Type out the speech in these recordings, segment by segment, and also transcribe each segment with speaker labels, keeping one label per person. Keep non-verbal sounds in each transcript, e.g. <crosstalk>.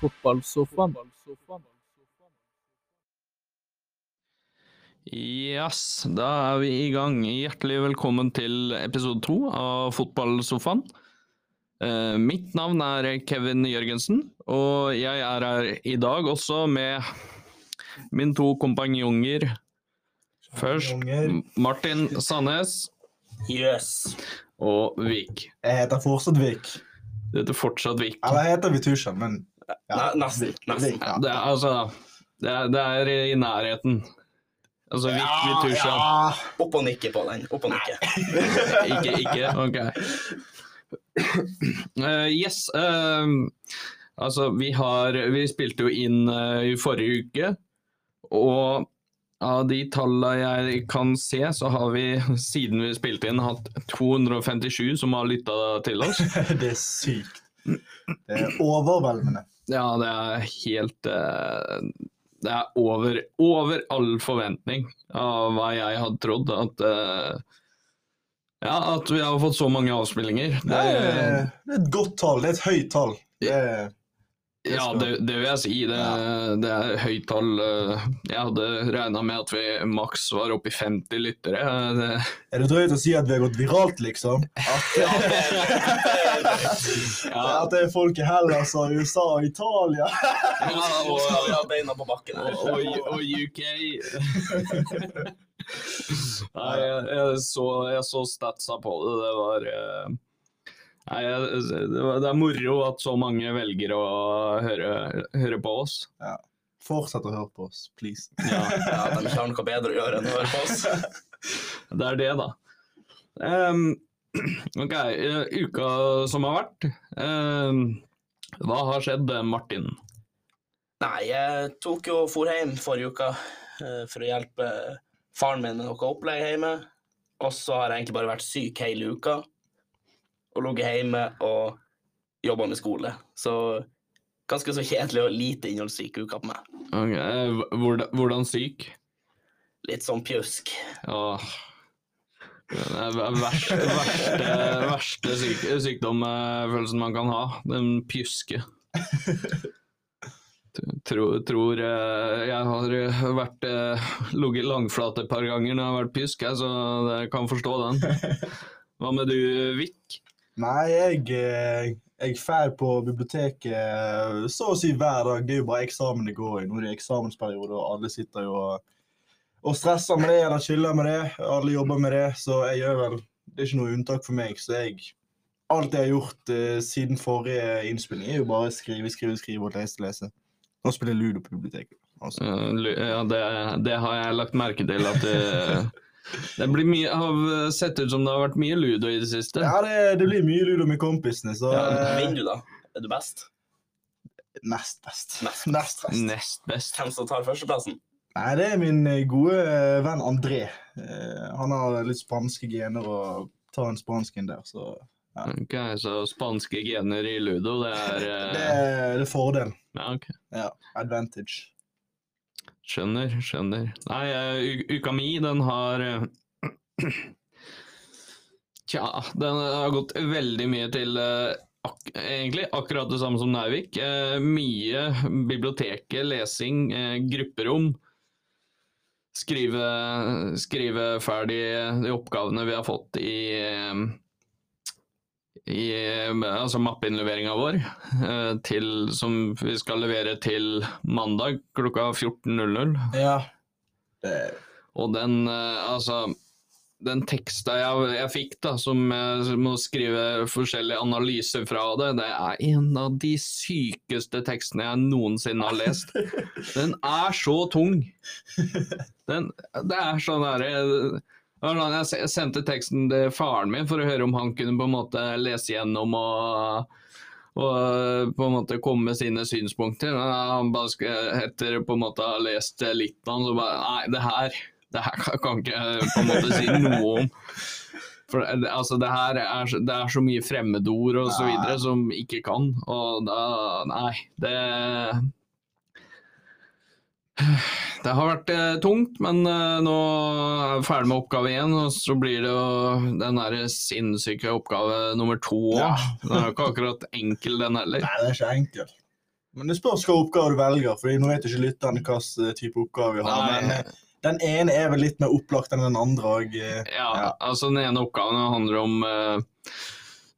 Speaker 1: Fotballsofaen.
Speaker 2: Yes, da er vi i gang. Hjertelig velkommen til episode to av Fotballsofaen. Eh, mitt navn er Kevin Jørgensen, og jeg er her i dag også med mine to kompanjonger. Først Martin Sandnes
Speaker 3: Yes.
Speaker 2: og Vik.
Speaker 3: Jeg heter fortsatt Vik.
Speaker 2: Det heter fortsatt Vik.
Speaker 3: Eller jeg heter Vitusha, men
Speaker 4: Ne- nesten,
Speaker 3: Vik,
Speaker 4: nesten.
Speaker 3: Vik,
Speaker 2: Ja, Det er, altså, det er, det er i nærheten. Altså Vik
Speaker 3: Ja,
Speaker 2: Vitusha.
Speaker 3: ja.
Speaker 4: Opp og nikke på den. Opp og nikke.
Speaker 2: Ikke, ikke? <laughs> Ok. Eh, yes. eh, altså, vi har Vi spilte jo inn eh, i forrige uke, og av de tallene jeg kan se, så har vi siden vi spilte inn, hatt 257 som har lytta til oss.
Speaker 3: Det er sykt. Det er overveldende.
Speaker 2: Ja, det er helt eh, Det er over, over all forventning av hva jeg hadde trodd. At eh, Ja, at vi har fått så mange avspillinger.
Speaker 3: Det er, det er et godt tall. Det er et høyt tall. Det er,
Speaker 2: Ja, det, det vil jeg si. Det, det er høyt tall. eh, Jeg hadde regna med at vi maks var oppe i 50 lyttere. eh, Det,
Speaker 3: er det drøyt å si at vi har gått viralt, liksom?
Speaker 2: ja,
Speaker 3: <laughs> At det er folk i Hellas og USA og Italia?
Speaker 2: ja,
Speaker 4: Nå skal vi
Speaker 2: og,
Speaker 4: ha beina på bakken her.
Speaker 2: og, og, og UK Nei, jeg, jeg, så, jeg så statsa på det. Det var eh, Nei, jeg, det, var, det er moro at så mange velger å høre, høre på oss.
Speaker 3: Fortsett å høre på oss, please.
Speaker 4: Ja, de ikke har noe bedre å gjøre enn å høre på oss.
Speaker 2: Det er det, da. Ehm, <clears throat> ok, eh, uka som har vært. ehm, hva har skjedd, eh, Martin?
Speaker 4: Nei, jeg tok jo for hjem forrige uke eh, for å hjelpe faren min med noe opplegg hjemme. Og så har jeg egentlig bare vært syk hele uka. Og ligget hjemme og jobba med skole. Så ganske så kjedelig og lite innholdsrik uke på meg.
Speaker 2: Ok, eh, hv- hvordan, hvordan syk?
Speaker 4: Litt sånn pjusk.
Speaker 2: Åh. Den er ver- verste, verste, verste syk, sykdomfølelsen man kan ha. Den pjuske. Tror, tror eh, Jeg har vært eh, ligget langflat et par ganger når jeg har vært pjusk, jeg, så jeg kan forstå den. Hva med du, Vik?
Speaker 3: Nei, jeg, eh, jeg fær på biblioteket eh, så å si hver dag. Det er jo bare eksamen det går i. Nå er det eksamensperiode, og alle sitter jo og, og stresser med det eller chiller med det. Alle jobber med det, så jeg gjør vel Det er ikke noe unntak for meg. Så jeg Alt jeg har gjort eh, siden forrige innspilling, er jo bare skrive, skrive, skrive og lese, lese. Nå spiller jeg ludo på biblioteket. Altså.
Speaker 2: Eh, lu- Ja, det, det har jeg lagt merke til. At
Speaker 3: <laughs>
Speaker 2: det, det blir mye, har sett ut som det har vært mye ludo i det siste.
Speaker 3: Ja, det, det blir mye ludo med kompisene, så
Speaker 2: Ja,
Speaker 3: eh,
Speaker 4: Vinner du, da? Er du best?
Speaker 3: Nest best.
Speaker 4: Nest
Speaker 3: Nest best.
Speaker 2: Nest best.
Speaker 4: Hvem som tar førsteplassen?
Speaker 3: Nei, det er min eh, gode eh, venn André. Eh, Han har litt spanske gener og tar en spansk inn der, så
Speaker 2: Ok, så spanske gener i ludo, det er eh,
Speaker 3: det er, det er fordelen.
Speaker 2: Ja, ok.
Speaker 3: Ja, advantage.
Speaker 2: Skjønner, skjønner. Nei, eh, u- uka mi, den har eh, Tja, den har gått veldig mye til eh, ak egentlig akkurat det samme som Nauvik. Eh, mye biblioteket, lesing, eh, grupperom. Skrive, skrive ferdig de oppgavene vi har fått i, eh, i eh, altså mappeinnleveringa vår, eh, til, som vi skal levere til mandag klokka 14.00.
Speaker 3: Ja. Det,
Speaker 2: Og den, eh, altså, den teksta jeg, jeg fikk, da, som jeg må skrive forskjellige analyser fra det, det er en av de sykeste tekstene jeg noensinne har lest. Den er så tung. Den, det er sånn derre sånn, jeg se- sendte teksten til faren min for å høre om han kunne på en måte lese gjennom og, og eh, på en måte komme med sine synspunkter. Men Han bare sk- etter på en måte å ha lest litt av den, så bare Nei, det her det her kan- kan ikke jeg på en måte si noe om. For det- altså, det her er, så- det er så mye fremmedord og så videre som ikke kan, og da Nei, det det har vært eh, tungt, men eh, nå er vi ferdig med oppgave én, og så blir det jo den der sinnssyke oppgave nummer to òg.
Speaker 3: Ja.
Speaker 2: <laughs> Den er jo ikke akkurat enkel, den heller.
Speaker 3: nei, det er ikke enkelt. Men det spørs hva oppgave du velger, for nå vet ikke lytterne hva slags type oppgave vi har.
Speaker 2: Nei.
Speaker 3: Men eh, den ene er vel litt mer opplagt enn den andre. Og, eh,
Speaker 2: Ja,
Speaker 3: Ja.
Speaker 2: altså den ene oppgaven handler om eh,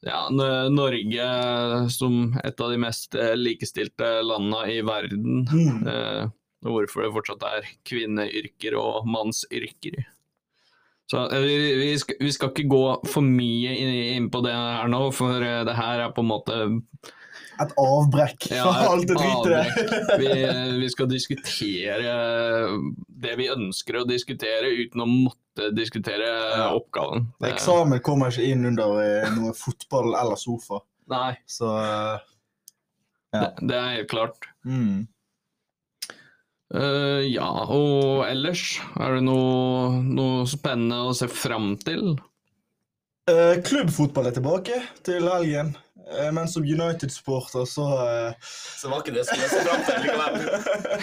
Speaker 2: ja, N- Norge som et av de mest eh, likestilte landene i verden.
Speaker 3: hmm.
Speaker 2: eh, og hvorfor det fortsatt er kvinneyrker og mannsyrker. Så eh, vi, vi, skal, vi skal ikke gå for mye inn, inn på det her nå, for eh, det her er på en måte
Speaker 3: Et avbrekk
Speaker 2: Ja,
Speaker 3: fra
Speaker 2: et
Speaker 3: <laughs> alt det dritet der.
Speaker 2: vi, eh, vi skal diskutere eh, det vi ønsker å diskutere, uten å måtte diskutere eh,
Speaker 3: Ja.
Speaker 2: oppgaven. Det-
Speaker 3: Eksamen kommer ikke inn under eh, noe fotball eller sofa,
Speaker 2: Nei,
Speaker 3: så eh, Ja.
Speaker 2: det, det er helt klart.
Speaker 3: hmm.
Speaker 2: Eh, ja, og ellers? Er det noe, noe spennende å se fram til?
Speaker 3: Eh, klubbfotball er tilbake til helgen, eh, men som United-sporter så eh, <laughs>
Speaker 4: Så var ikke det som jeg så fram til likevel.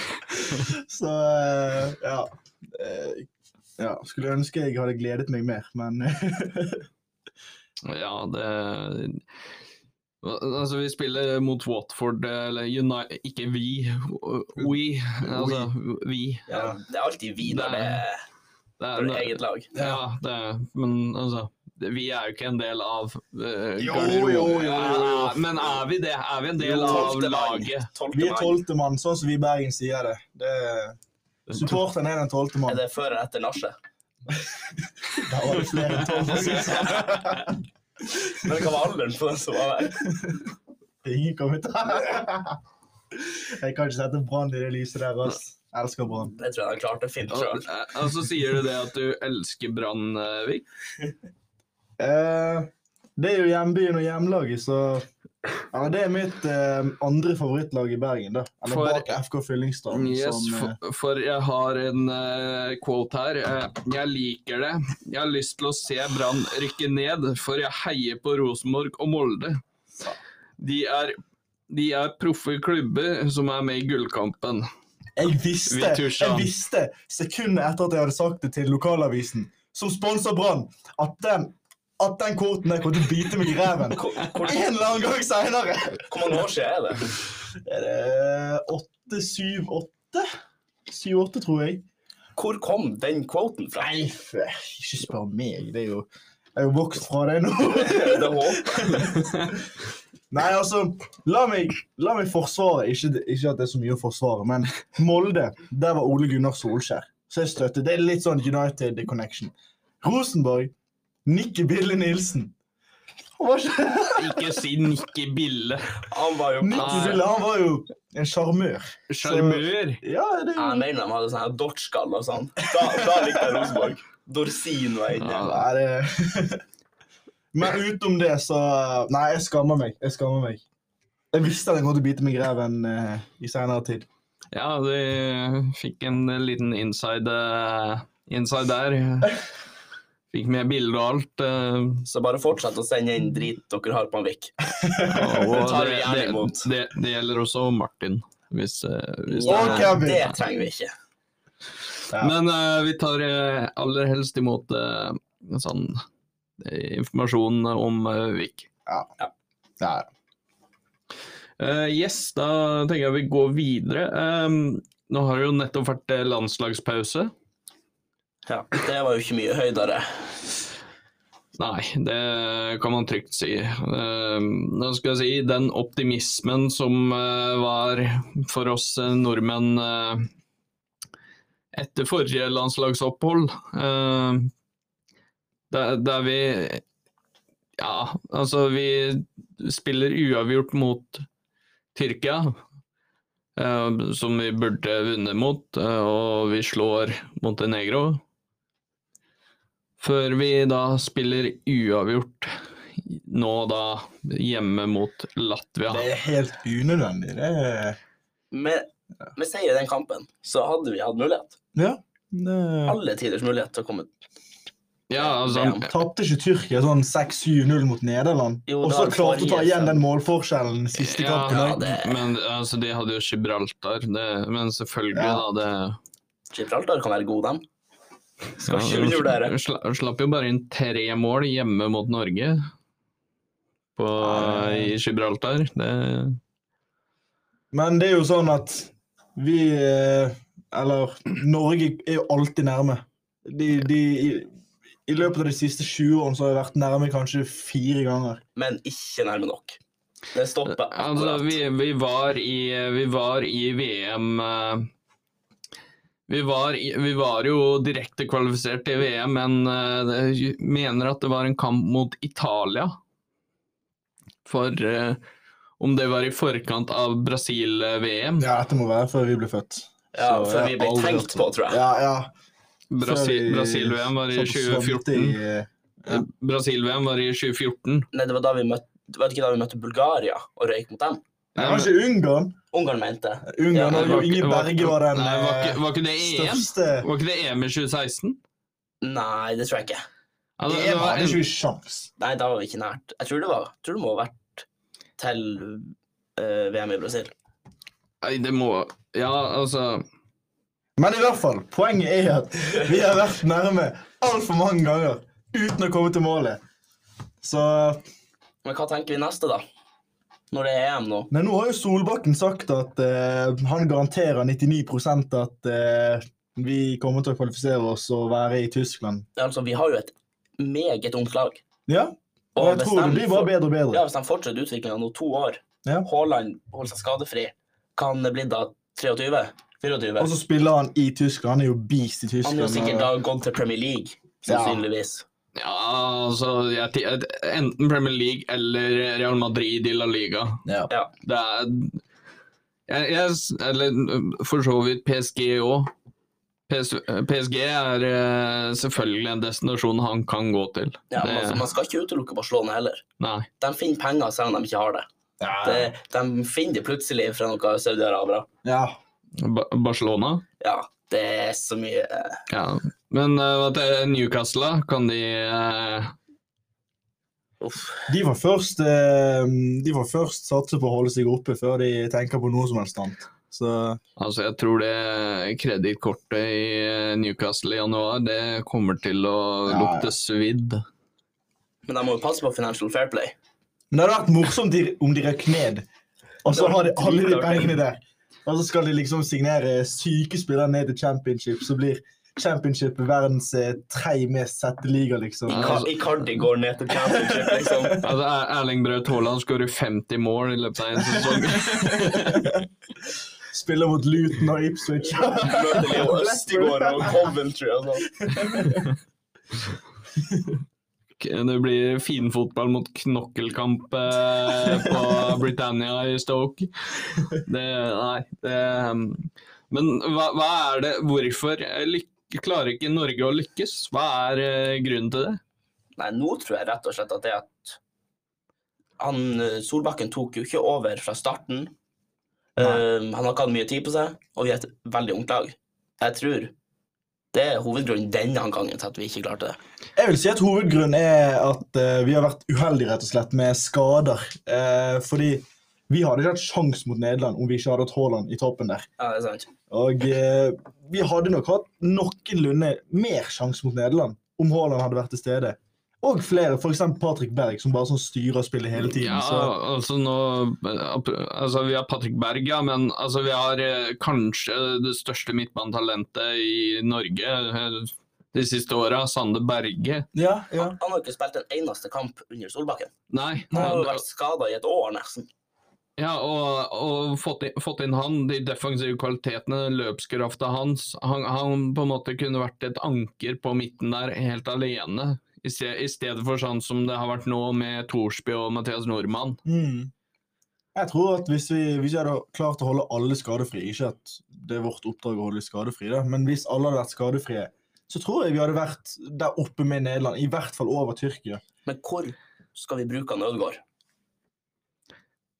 Speaker 3: Så eh, ja. Eh, ja. Skulle ønske jeg hadde gledet meg mer, men eh,
Speaker 2: Ja, det Altså, vi spiller mot Watford, eller United Ikke vi. We. Altså, vi.
Speaker 4: Ja, det er alltid vi når det er
Speaker 2: Det er,
Speaker 4: når det er eget lag.
Speaker 2: Ja, det er, men altså det- Vi er jo ikke en del av uh,
Speaker 3: Jo, jo, jo, jo.
Speaker 2: Men er vi det? Er vi en del
Speaker 4: Jo,
Speaker 2: av
Speaker 4: tolvte mann.
Speaker 2: laget?
Speaker 4: Tolvte
Speaker 3: vi er
Speaker 4: mann.
Speaker 3: tolvte mann, sånn som vi i Bergen sier det. det Supporteren er den tolvte
Speaker 4: Er
Speaker 3: mann.
Speaker 4: det før eller etter nachet?
Speaker 3: Da var det flere enn tolv, for å si det sånn.
Speaker 4: Men hva var alderen på den som var der?
Speaker 3: Ingen kommentarer. Jeg kan ikke sette brann i det lyset der, ass. Elsker brann.
Speaker 4: Det tror jeg han klarte fint
Speaker 2: Og,
Speaker 4: sjøl.
Speaker 2: og så sier du det at du elsker Brann, eh, Vik.
Speaker 3: Eh, det er jo hjembyen og hjemlaget, så Eller det er mitt eh, andre favorittlag i Bergen, da. Eller
Speaker 2: For-
Speaker 3: bak FK Fyllingsdalen.
Speaker 2: Yes,
Speaker 3: som, eh,
Speaker 2: for, for jeg har en eh, quote her. Eh, jeg liker det. Jeg har lyst til å se Brann rykke ned, for jeg heier på Rosenborg og Molde. De er, de er proffe klubber som er med i gullkampen.
Speaker 3: Jeg visste,
Speaker 2: Vi tusja
Speaker 3: jeg
Speaker 2: han.
Speaker 3: visste, sekundet etter at jeg hadde sagt det til lokalavisen, som sponser Brann, at den, at den korten der kom til å bite meg i ræven.
Speaker 4: Hvor,
Speaker 3: En
Speaker 4: hvor,
Speaker 3: eller annen gang seinere!
Speaker 4: hvor mange år siden er det?
Speaker 3: Er det åtte, syv, åtte? Syv, åtte, tror jeg.
Speaker 4: Hvor kom den quoten fra?
Speaker 3: Nei, f- ikke spør meg. Det er jo Jeg er jo vokst fra det nå.
Speaker 4: <laughs> Det håper
Speaker 3: Nei, altså, la meg, la meg forsvare. Ikke, ikke at det er så mye å forsvare, men Molde, der var Ole Gunnar Solskjær. Så jeg støtter. Det er litt sånn United connection. Rosenborg, Nikki Bille Nilsen. Han var ikke
Speaker 2: Ikke si Nikki Bille.
Speaker 4: Han var jo
Speaker 3: Nikki Bille, han var jo en sjarmør.
Speaker 2: Sjarmør.
Speaker 3: Ja, det er
Speaker 4: Jeg
Speaker 3: jo
Speaker 4: mener de hadde sånn her Dortskall og sånn. Da, da likte jeg Rosenborg. Dorsin var inne.
Speaker 2: Ja.
Speaker 3: Nei, det <laughs> Men utenom det, så Nei, jeg skammer meg. Jeg skammer meg. Jeg visste at jeg kom til å bite meg i ræven eh, i seinere tid.
Speaker 2: Ja, du fikk en liten inside, eh, inside
Speaker 3: <laughs>
Speaker 2: der. Fikk med bilde og alt. eh,
Speaker 4: Så bare fortsett å sende inn drit dere har på en Vik.
Speaker 2: Og
Speaker 4: tar vi gjerne imot.
Speaker 2: det, det gjelder også Martin. Hvis, eh, hvis det er-
Speaker 3: Og Kevin.
Speaker 4: Det trenger vi ikke.
Speaker 3: Ja.
Speaker 2: Men eh, vi tar eh, aller helst imot eh, en sånn eh, informasjon om eh, Vik.
Speaker 3: Nei.
Speaker 2: Eh, yes, da tenker jeg vi går videre. Ehm, nå har det jo nettopp vært eh, landslagspause.
Speaker 4: Ja, det var jo ikke mye høydere.
Speaker 2: Nei, det kan man trygt si. Eh, Nå skal jeg si, den optimismen som eh, var for oss eh, nordmenn eh, etter forrige landslagsopphold, eh, der, der vi Ja, altså, vi spiller uavgjort mot Tyrkia, eh, som vi burde vunnet mot, eh, og vi slår Montenegro før vi da spiller uavgjort nå da hjemme mot Latvia.
Speaker 3: Det er helt unødvendig. Det er
Speaker 4: Med, med seier i den kampen, så hadde vi hatt mulighet.
Speaker 3: Ja. Det...
Speaker 4: Alle tiders mulighet til å komme
Speaker 2: Ja,
Speaker 4: Det
Speaker 2: altså,
Speaker 3: Tapte ikke Tyrkia sånn 6-7-0 mot Nederland?
Speaker 4: Jo,
Speaker 3: Og
Speaker 4: det
Speaker 3: så
Speaker 4: var det
Speaker 3: klarte å ta
Speaker 4: forrige,
Speaker 3: igjen
Speaker 4: så-
Speaker 3: den målforskjellen siste
Speaker 2: Ja,
Speaker 3: kampen?
Speaker 4: ja,
Speaker 3: også.
Speaker 4: det-
Speaker 2: men altså, de hadde jo Gibraltar, det, men selvfølgelig
Speaker 3: Ja.
Speaker 2: da det
Speaker 4: Gibraltar kan være god, dem. Skal
Speaker 2: ja,
Speaker 4: ikke undervurdere.
Speaker 2: sla- Slapp jo bare inn tre mål hjemme mot Norge på,
Speaker 3: Ja.
Speaker 4: Ah.
Speaker 2: i Gibraltar. Det,
Speaker 3: Men det er jo sånn at vi eh, Eller Norge er jo alltid nærme. De, de, i, I løpet av de siste 20 årene så har vi vært nærme kanskje fire ganger.
Speaker 4: men ikke nærme nok. Det stopper
Speaker 2: Altså,
Speaker 4: akkurat.
Speaker 2: vi, vi, var i, vi var i VM eh, vi var, i, vi var jo direkte kvalifisert til VM, men eh, det- mener at det var en kamp mot Italia. For eh, om det var i forkant av Brasil-VM.
Speaker 3: Ja, dette må være før vi ble født.
Speaker 4: Ja,
Speaker 3: Så
Speaker 4: før
Speaker 3: jeg
Speaker 4: vi
Speaker 3: har
Speaker 4: ble
Speaker 3: aldri hørt
Speaker 4: tenkt
Speaker 3: om-
Speaker 4: på, tror jeg.
Speaker 3: Ja, ja. Før
Speaker 2: Brasi-
Speaker 3: vi
Speaker 2: Brasil-VM var i
Speaker 3: satt og svømte
Speaker 2: 2014.
Speaker 3: i, eh,
Speaker 2: Eh, Brasil-VM var i 2014.
Speaker 4: Nei, det var da vi møtte var det ikke da vi møtte Bulgaria og røyk mot dem?
Speaker 3: Nei, det var ikke Ungarn.
Speaker 4: Ungarn mente jeg. Ja,
Speaker 3: Ungarn
Speaker 4: det
Speaker 3: og
Speaker 4: var
Speaker 3: Inge Berge var den
Speaker 2: Nei, var ikke,
Speaker 3: eh,
Speaker 2: var ikke det EM?
Speaker 3: største
Speaker 2: Var ikke det EM i 2016?
Speaker 4: Nei, det tror jeg ikke.
Speaker 2: Ja,
Speaker 4: Altså,
Speaker 2: det- det
Speaker 3: EM
Speaker 2: var
Speaker 3: hadde
Speaker 2: en-
Speaker 3: ikke vi sjans.
Speaker 4: Nei, da var vi ikke nært. Jeg tror det var tror det må ha vært til eh, VM i Brasil.
Speaker 2: Nei, det må Ja, altså
Speaker 3: Men i hvert fall, poenget er at vi har vært nærme altfor mange ganger uten å komme til målet. Så
Speaker 4: Men hva tenker vi neste, da? Når det er EM nå?
Speaker 3: Nei, nå har jo Solbakken sagt at eh, han garanterer 99 at eh, vi kommer til å kvalifisere oss og være i Tyskland.
Speaker 4: Altså, vi har jo et meget ungt lag.
Speaker 3: Ja, og jeg
Speaker 4: hvis
Speaker 3: tror
Speaker 4: de
Speaker 3: det blir bare
Speaker 4: får-
Speaker 3: bedre og
Speaker 4: Ja,
Speaker 3: bedre.
Speaker 4: Hvis de fortsetter utviklinga nå to år,
Speaker 3: Ja.
Speaker 4: Haaland holder seg skadefri, kan det bli da 23? 24?
Speaker 3: Og så spiller han i Tyskland. Han er jo beast i
Speaker 4: Han er jo sikkert
Speaker 3: Tyskland.
Speaker 4: da
Speaker 3: og-
Speaker 4: gått til Premier League,
Speaker 3: Ja.
Speaker 4: sannsynligvis.
Speaker 2: Ja, altså jeg, ti- Enten Premier League eller Real Madrid i La Liga.
Speaker 3: Ja.
Speaker 2: Det er jeg, jeg, Eller for så vidt PSG òg. PS, PSG er eh, selvfølgelig en destinasjon han kan gå til.
Speaker 4: Ja, men
Speaker 2: Det-
Speaker 4: altså, Man skal ikke utelukke Barcelona heller.
Speaker 2: nei.
Speaker 4: De finner penger selv om de ikke har det.
Speaker 3: Ja.
Speaker 4: det de finner det plutselig fra noe Saudi-Arabia.
Speaker 3: ja.
Speaker 2: Ba Barcelona?
Speaker 4: Ja, det er så mye eh,
Speaker 2: Ja. Men eh, at det er Newcastle, da, kan de eh,
Speaker 4: Uff.
Speaker 3: De får først, eh, de får først satse på å holde seg oppe før de tenker på noe som helst annet. Så
Speaker 2: Altså, jeg tror det kredittkortet i eh, Newcastle i januar, det kommer til å
Speaker 3: Ja, ja.
Speaker 2: lukte svidd.
Speaker 4: Men de må jo passe på Financial Fair Play.
Speaker 3: Men det hadde vært morsomt de- om de røk ned, og så
Speaker 4: Det
Speaker 3: har de
Speaker 4: hadde
Speaker 3: alle de
Speaker 4: vært
Speaker 3: pengene der. Og så skal de liksom signere syke spillere ned til championship, så blir championship verdens eh, tre mest sette liga, liksom.
Speaker 2: Ja,
Speaker 4: Ica-
Speaker 2: altså-
Speaker 4: Icardi går ned til championship,
Speaker 2: <laughs>
Speaker 4: liksom.
Speaker 2: Altså, Er- Erling Braut Haaland skårer 50 mål i løpet av en sesong.
Speaker 3: <laughs> Spiller mot Luton og Ipswich. <laughs>
Speaker 4: Møter Leo Østigård og Coventry og sånn.
Speaker 2: Det blir finfotball mot knokkelkamp eh, på Britannia i Stoke. Det, nei, det um, Men hva, hva er det Hvorfor lyk- klarer ikke Norge å lykkes? Hva er eh, grunnen til det?
Speaker 4: Nei, nå tror jeg rett og slett at det at han, eh, Solbakken tok jo ikke over fra starten.
Speaker 3: Nei.
Speaker 4: Ehm, han har ikke hatt mye tid på seg, og vi er et veldig ungt lag. Jeg tror det er hovedgrunnen denne gangen til at vi ikke klarte det.
Speaker 3: Jeg vil si at hovedgrunnen er at eh, vi har vært uheldige rett og slett med skader. Eh, fordi vi hadde ikke hatt sjans mot Nederland om vi ikke hadde hatt Haaland i toppen der.
Speaker 4: Ja, det er sant.
Speaker 3: Og eh, vi hadde nok hatt noenlunde mer sjanse mot Nederland om Haaland hadde vært til stede. Og flere, f.eks. Patrick Berg, som bare sånn styrer spillet hele tiden.
Speaker 2: Ja,
Speaker 3: Så,
Speaker 2: altså nå altså Vi har Patrick Berg, ja, men altså vi har eh, kanskje det største midtbanetalentet i Norge eh, de siste åra, Sander Berge.
Speaker 3: ja, ja.
Speaker 4: Han har ikke spilt en eneste kamp under Solbakken.
Speaker 2: Nei.
Speaker 4: Han har jo
Speaker 2: han-
Speaker 4: vært skada i et år, nesten.
Speaker 2: Ja, og, og fått, inn, fått inn han, de defensive kvalitetene, løpskrafta hans. Han, han på en måte kunne vært et anker på midten der helt alene, i, ste, i stedet for sånn som det har vært nå med Thorsby og Mathias Nordmann.
Speaker 3: Mm. Jeg tror at hvis vi, hvis vi hadde klart å holde alle skadefrie Ikke at det er vårt oppdrag å holde skadefrie, da, men hvis alle hadde vært skadefrie, så tror jeg vi hadde vært der oppe med Nederland. I hvert fall over Tyrkia.
Speaker 4: Men hvor skal vi bruke han Ødegaard?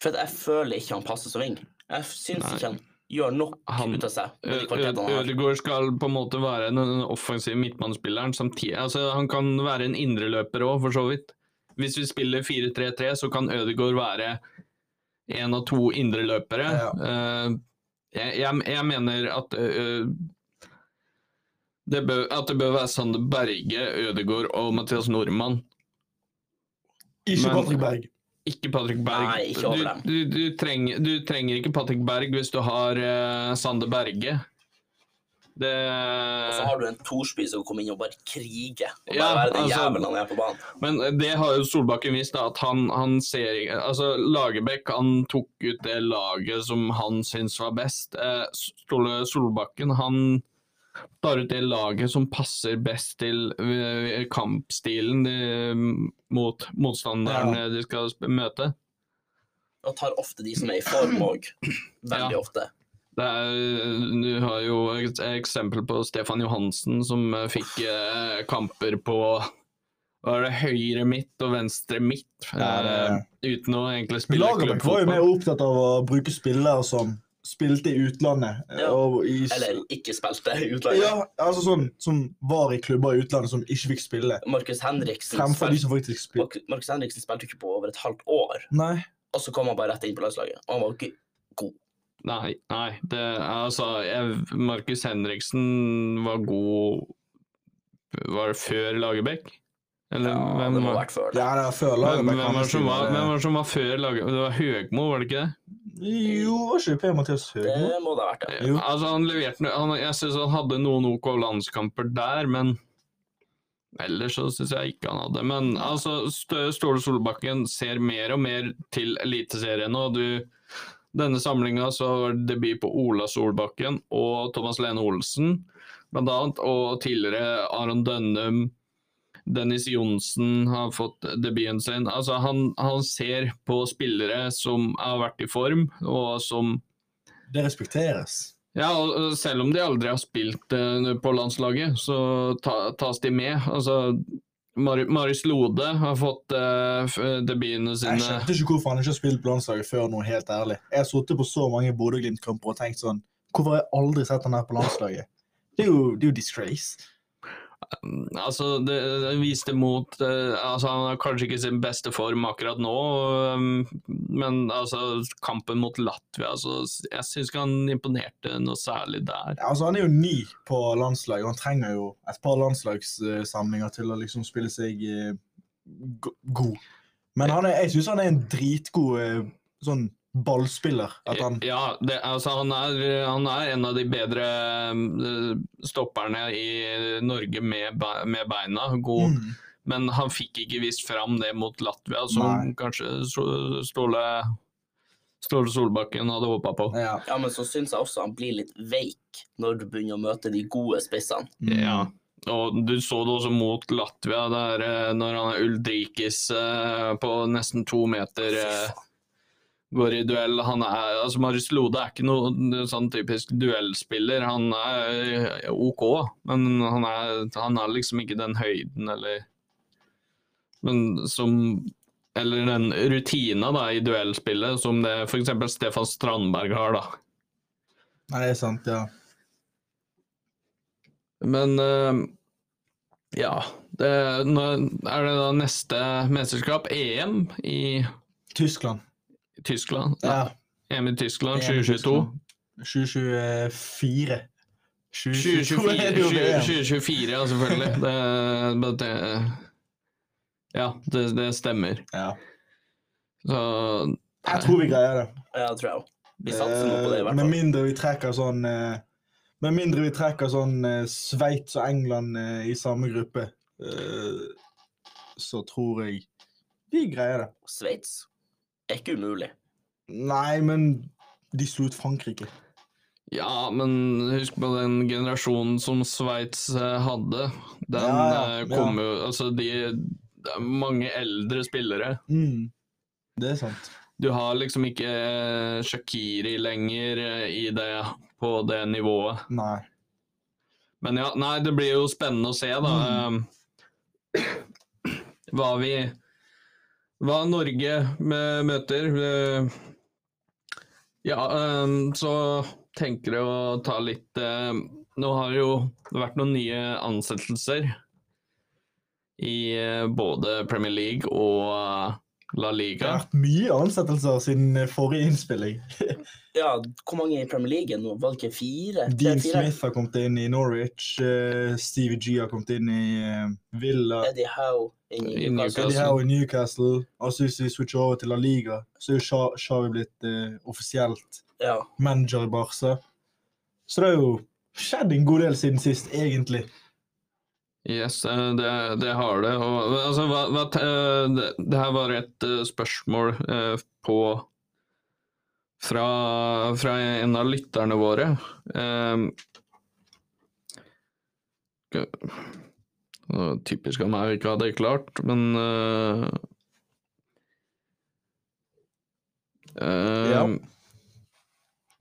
Speaker 4: For at jeg føler ikke han passer som ving. Jeg syns
Speaker 2: Nei.
Speaker 4: ikke han gjør nok
Speaker 2: Han-
Speaker 4: ut av seg. med de kvalitetene han har.
Speaker 2: Ødegaard skal på en måte være den offensive midtmannsspilleren samtidig. Altså, han kan være en indreløper òg, for så vidt. Hvis vi spiller 4-3-3, så kan Ødegaard være én av to indreløpere.
Speaker 3: Ja.
Speaker 2: Eh, jeg, jeg, jeg mener at eh, det bør, at det bør være Sander Berge, Ødegaard og Mathias Nordmann.
Speaker 3: Ikke
Speaker 2: Men-
Speaker 3: Patrick Berg.
Speaker 2: Ikke Patrick Berg.
Speaker 4: Nei, ikke over dem.
Speaker 2: du, du, du, trenger, du trenger ikke Patrick Berg hvis du har eh, Sander Berge. Det
Speaker 4: Og så har du en Thorsby som kommer inn og bare kriger. Og bare
Speaker 2: Ja,
Speaker 4: være den
Speaker 2: altså-
Speaker 4: jævelen han er på banen.
Speaker 2: Men eh, det har jo Solbakken vist, da, at han, han ser ikke Altså, Lagerbäck han tok ut det laget som han syntes var best. Eh, Ståle Solbakken han tar ut det laget som passer best til eh, kampstilen eh, mot motstanderne de skal sp- møte.
Speaker 4: Og tar ofte de som er i form òg. Veldig
Speaker 2: Ja.
Speaker 4: ofte.
Speaker 2: Det er, eh, du har jo et eksempel på Stefan Johansen som eh, fikk eh, kamper på var det høyre midt og venstre midt,
Speaker 3: Ja, det-
Speaker 2: eh, uten å egentlig spille
Speaker 3: Lagerbäck var jo mer opptatt av å bruke spillere som spilte i utlandet. eh,
Speaker 4: Ja.
Speaker 3: Og i,
Speaker 4: Eller ikke spilte i utlandet.
Speaker 3: ja, altså sånn som var i klubber i utlandet som ikke fikk spille.
Speaker 4: Markus Henriksen,
Speaker 3: Fremfor de
Speaker 4: spilte-
Speaker 3: som faktisk spilte.
Speaker 4: Mark- Markus Henriksen spilte jo ikke på over et halvt år,
Speaker 3: Nei.
Speaker 4: og så kom han bare rett inn på landslaget. Og han var jo ikke
Speaker 2: Nei, nei det, altså jeg- Markus Henriksen var god Var det før Lagerbäck? Eller
Speaker 4: ja,
Speaker 2: hvem,
Speaker 4: Det må ha
Speaker 2: var,
Speaker 4: vært før. det.
Speaker 3: Ja, det er før
Speaker 2: hvem,
Speaker 3: Lagerbäck.
Speaker 2: hvem, var det som var, hvem var det som var før Lagerbäck? Det var Høgmo, var det ikke det?
Speaker 3: Jo, var ikke det Per-Mathias Høgmo?
Speaker 4: Det må det ha vært, ja.
Speaker 3: Jo.
Speaker 2: Altså, han leverte, no- han, jeg syns han hadde noen OK landskamper der, men Ellers så syns jeg ikke han hadde. Men altså, Stø- Ståle Solbakken ser mer og mer til Eliteserien nå. Du, denne samlinga så var det debut på Ola Solbakken og Thomas Lene Olsen, blant annet. Og tidligere Aron Dønnum. Dennis Johnsen har fått debuten sin. Altså, han, han ser på spillere som har vært i form, og som
Speaker 3: Det respekteres.
Speaker 2: ja, og og selv om de aldri har spilt eh, på landslaget, så ta, tas de med. Altså, Mar Marius Lode har fått eh, f- debutene
Speaker 3: Jeg
Speaker 2: sine.
Speaker 3: skjønte ikke hvorfor han ikke har spilt på landslaget før nå, helt ærlig. Jeg har sittet på så mange Bodø-Glimt-kamper og tenkt sånn Hvorfor har jeg aldri sett han her på landslaget? Det er jo, det er jo disgrace.
Speaker 2: Altså, det, det viste mot eh, altså, Han har kanskje ikke sin beste form akkurat nå, um, men altså, kampen mot Latvia altså, Jeg syns ikke han imponerte noe særlig der.
Speaker 3: Altså, han er jo ny på landslaget, og han trenger jo et par landslagssamlinger til å liksom spille seg eh, go- god. Men han er, jeg syns han er en dritgod eh, sånn ballspiller. At han
Speaker 2: Ja, det, altså han er, han er en av de bedre um, stopperne i Norge med, be- med beina. God,
Speaker 3: mm,
Speaker 2: Men han fikk ikke vist fram det mot Latvia, som
Speaker 3: Nei.
Speaker 2: kanskje So- Ståle, Ståle Solbakken hadde håpa på.
Speaker 3: ja.
Speaker 4: Ja, men så syns jeg også han blir litt veik når du begynner å møte de gode spissene.
Speaker 3: Mm.
Speaker 2: Ja. Og du så det også mot Latvia, der eh, når han er Uldrikis eh, på nesten to meter eh, går i duell. Han er, altså Marius Lode er ikke noen sånn typisk duellspiller. Han er eh, OK, men han er, han er liksom ikke den høyden eller Men som Eller den rutina da, i duellspillet som det f.eks. Stefan Strandberg har, da.
Speaker 3: Nei, det er sant, ja.
Speaker 2: Men eh, ja det, nå Er det da neste mesterskap? EM i
Speaker 3: Tyskland.
Speaker 2: Tyskland? Nei,
Speaker 3: Ja.
Speaker 2: EM i Tyskland
Speaker 3: EM i
Speaker 2: 2022?
Speaker 3: Tyskland. eh, 2024.
Speaker 2: 2024,
Speaker 3: 2024.
Speaker 2: 2024 ja, selvfølgelig. Det, men det, ja, det, det stemmer.
Speaker 3: Ja.
Speaker 2: Så
Speaker 3: Jeg tror vi greier det.
Speaker 4: Ja, det tror jeg også.
Speaker 3: Eh,
Speaker 4: Vi satser nå på det, i hvert
Speaker 3: Med
Speaker 4: fall.
Speaker 3: mindre vi trekker sånn eh, Med mindre vi trekker sånn eh, Sveits og England eh, i samme gruppe, eh, så tror jeg vi greier det.
Speaker 4: Sveits er ikke umulig.
Speaker 3: Nei, men de slo ut Frankrike.
Speaker 2: Ja, men husk på den generasjonen som Sveits eh, hadde. Den
Speaker 3: Ja, ja,
Speaker 2: eh, kom jo Altså, de Det er mange eldre spillere.
Speaker 3: Mm. Det er sant.
Speaker 2: Du har liksom ikke eh, Shakiri lenger eh, i det, på det nivået.
Speaker 3: Nei.
Speaker 2: Men ja, nei, det blir jo spennende å se, da. eh, Hva vi Hva Norge eh, møter. Eh, Ja, eh, så tenker jeg å ta litt eh, Nå har det jo vært noen nye ansettelser i eh, både Premier League og eh, La
Speaker 3: Det
Speaker 2: Liga.
Speaker 3: har vært mye ansettelser siden eh, forrige innspilling.
Speaker 4: Ja, hvor mange i Premier League nå? Var det ikke fire?
Speaker 3: Dean
Speaker 4: Tre-fire?
Speaker 3: Smith har kommet inn i Norwich. eh, Stevie G har kommet inn i eh, Villa.
Speaker 4: Eddie Howe inn i
Speaker 2: Inn i
Speaker 4: Newcastle.
Speaker 3: Eddie Howe i Newcastle. Og så hvis vi switcher over til La Liga, så er jo Xha- Xhavi blitt eh, offisielt
Speaker 4: Ja.
Speaker 3: manager i Barca. Så det har jo skjedd en god del siden sist, egentlig.
Speaker 2: Yes, eh, det, det har det. Og, altså, hva, hva, te- eh, det, det her var et eh, spørsmål eh, på fra, fra en av lytterne våre. Ehm, skal- det var typisk av meg å ikke ha det klart, men eh, ehm,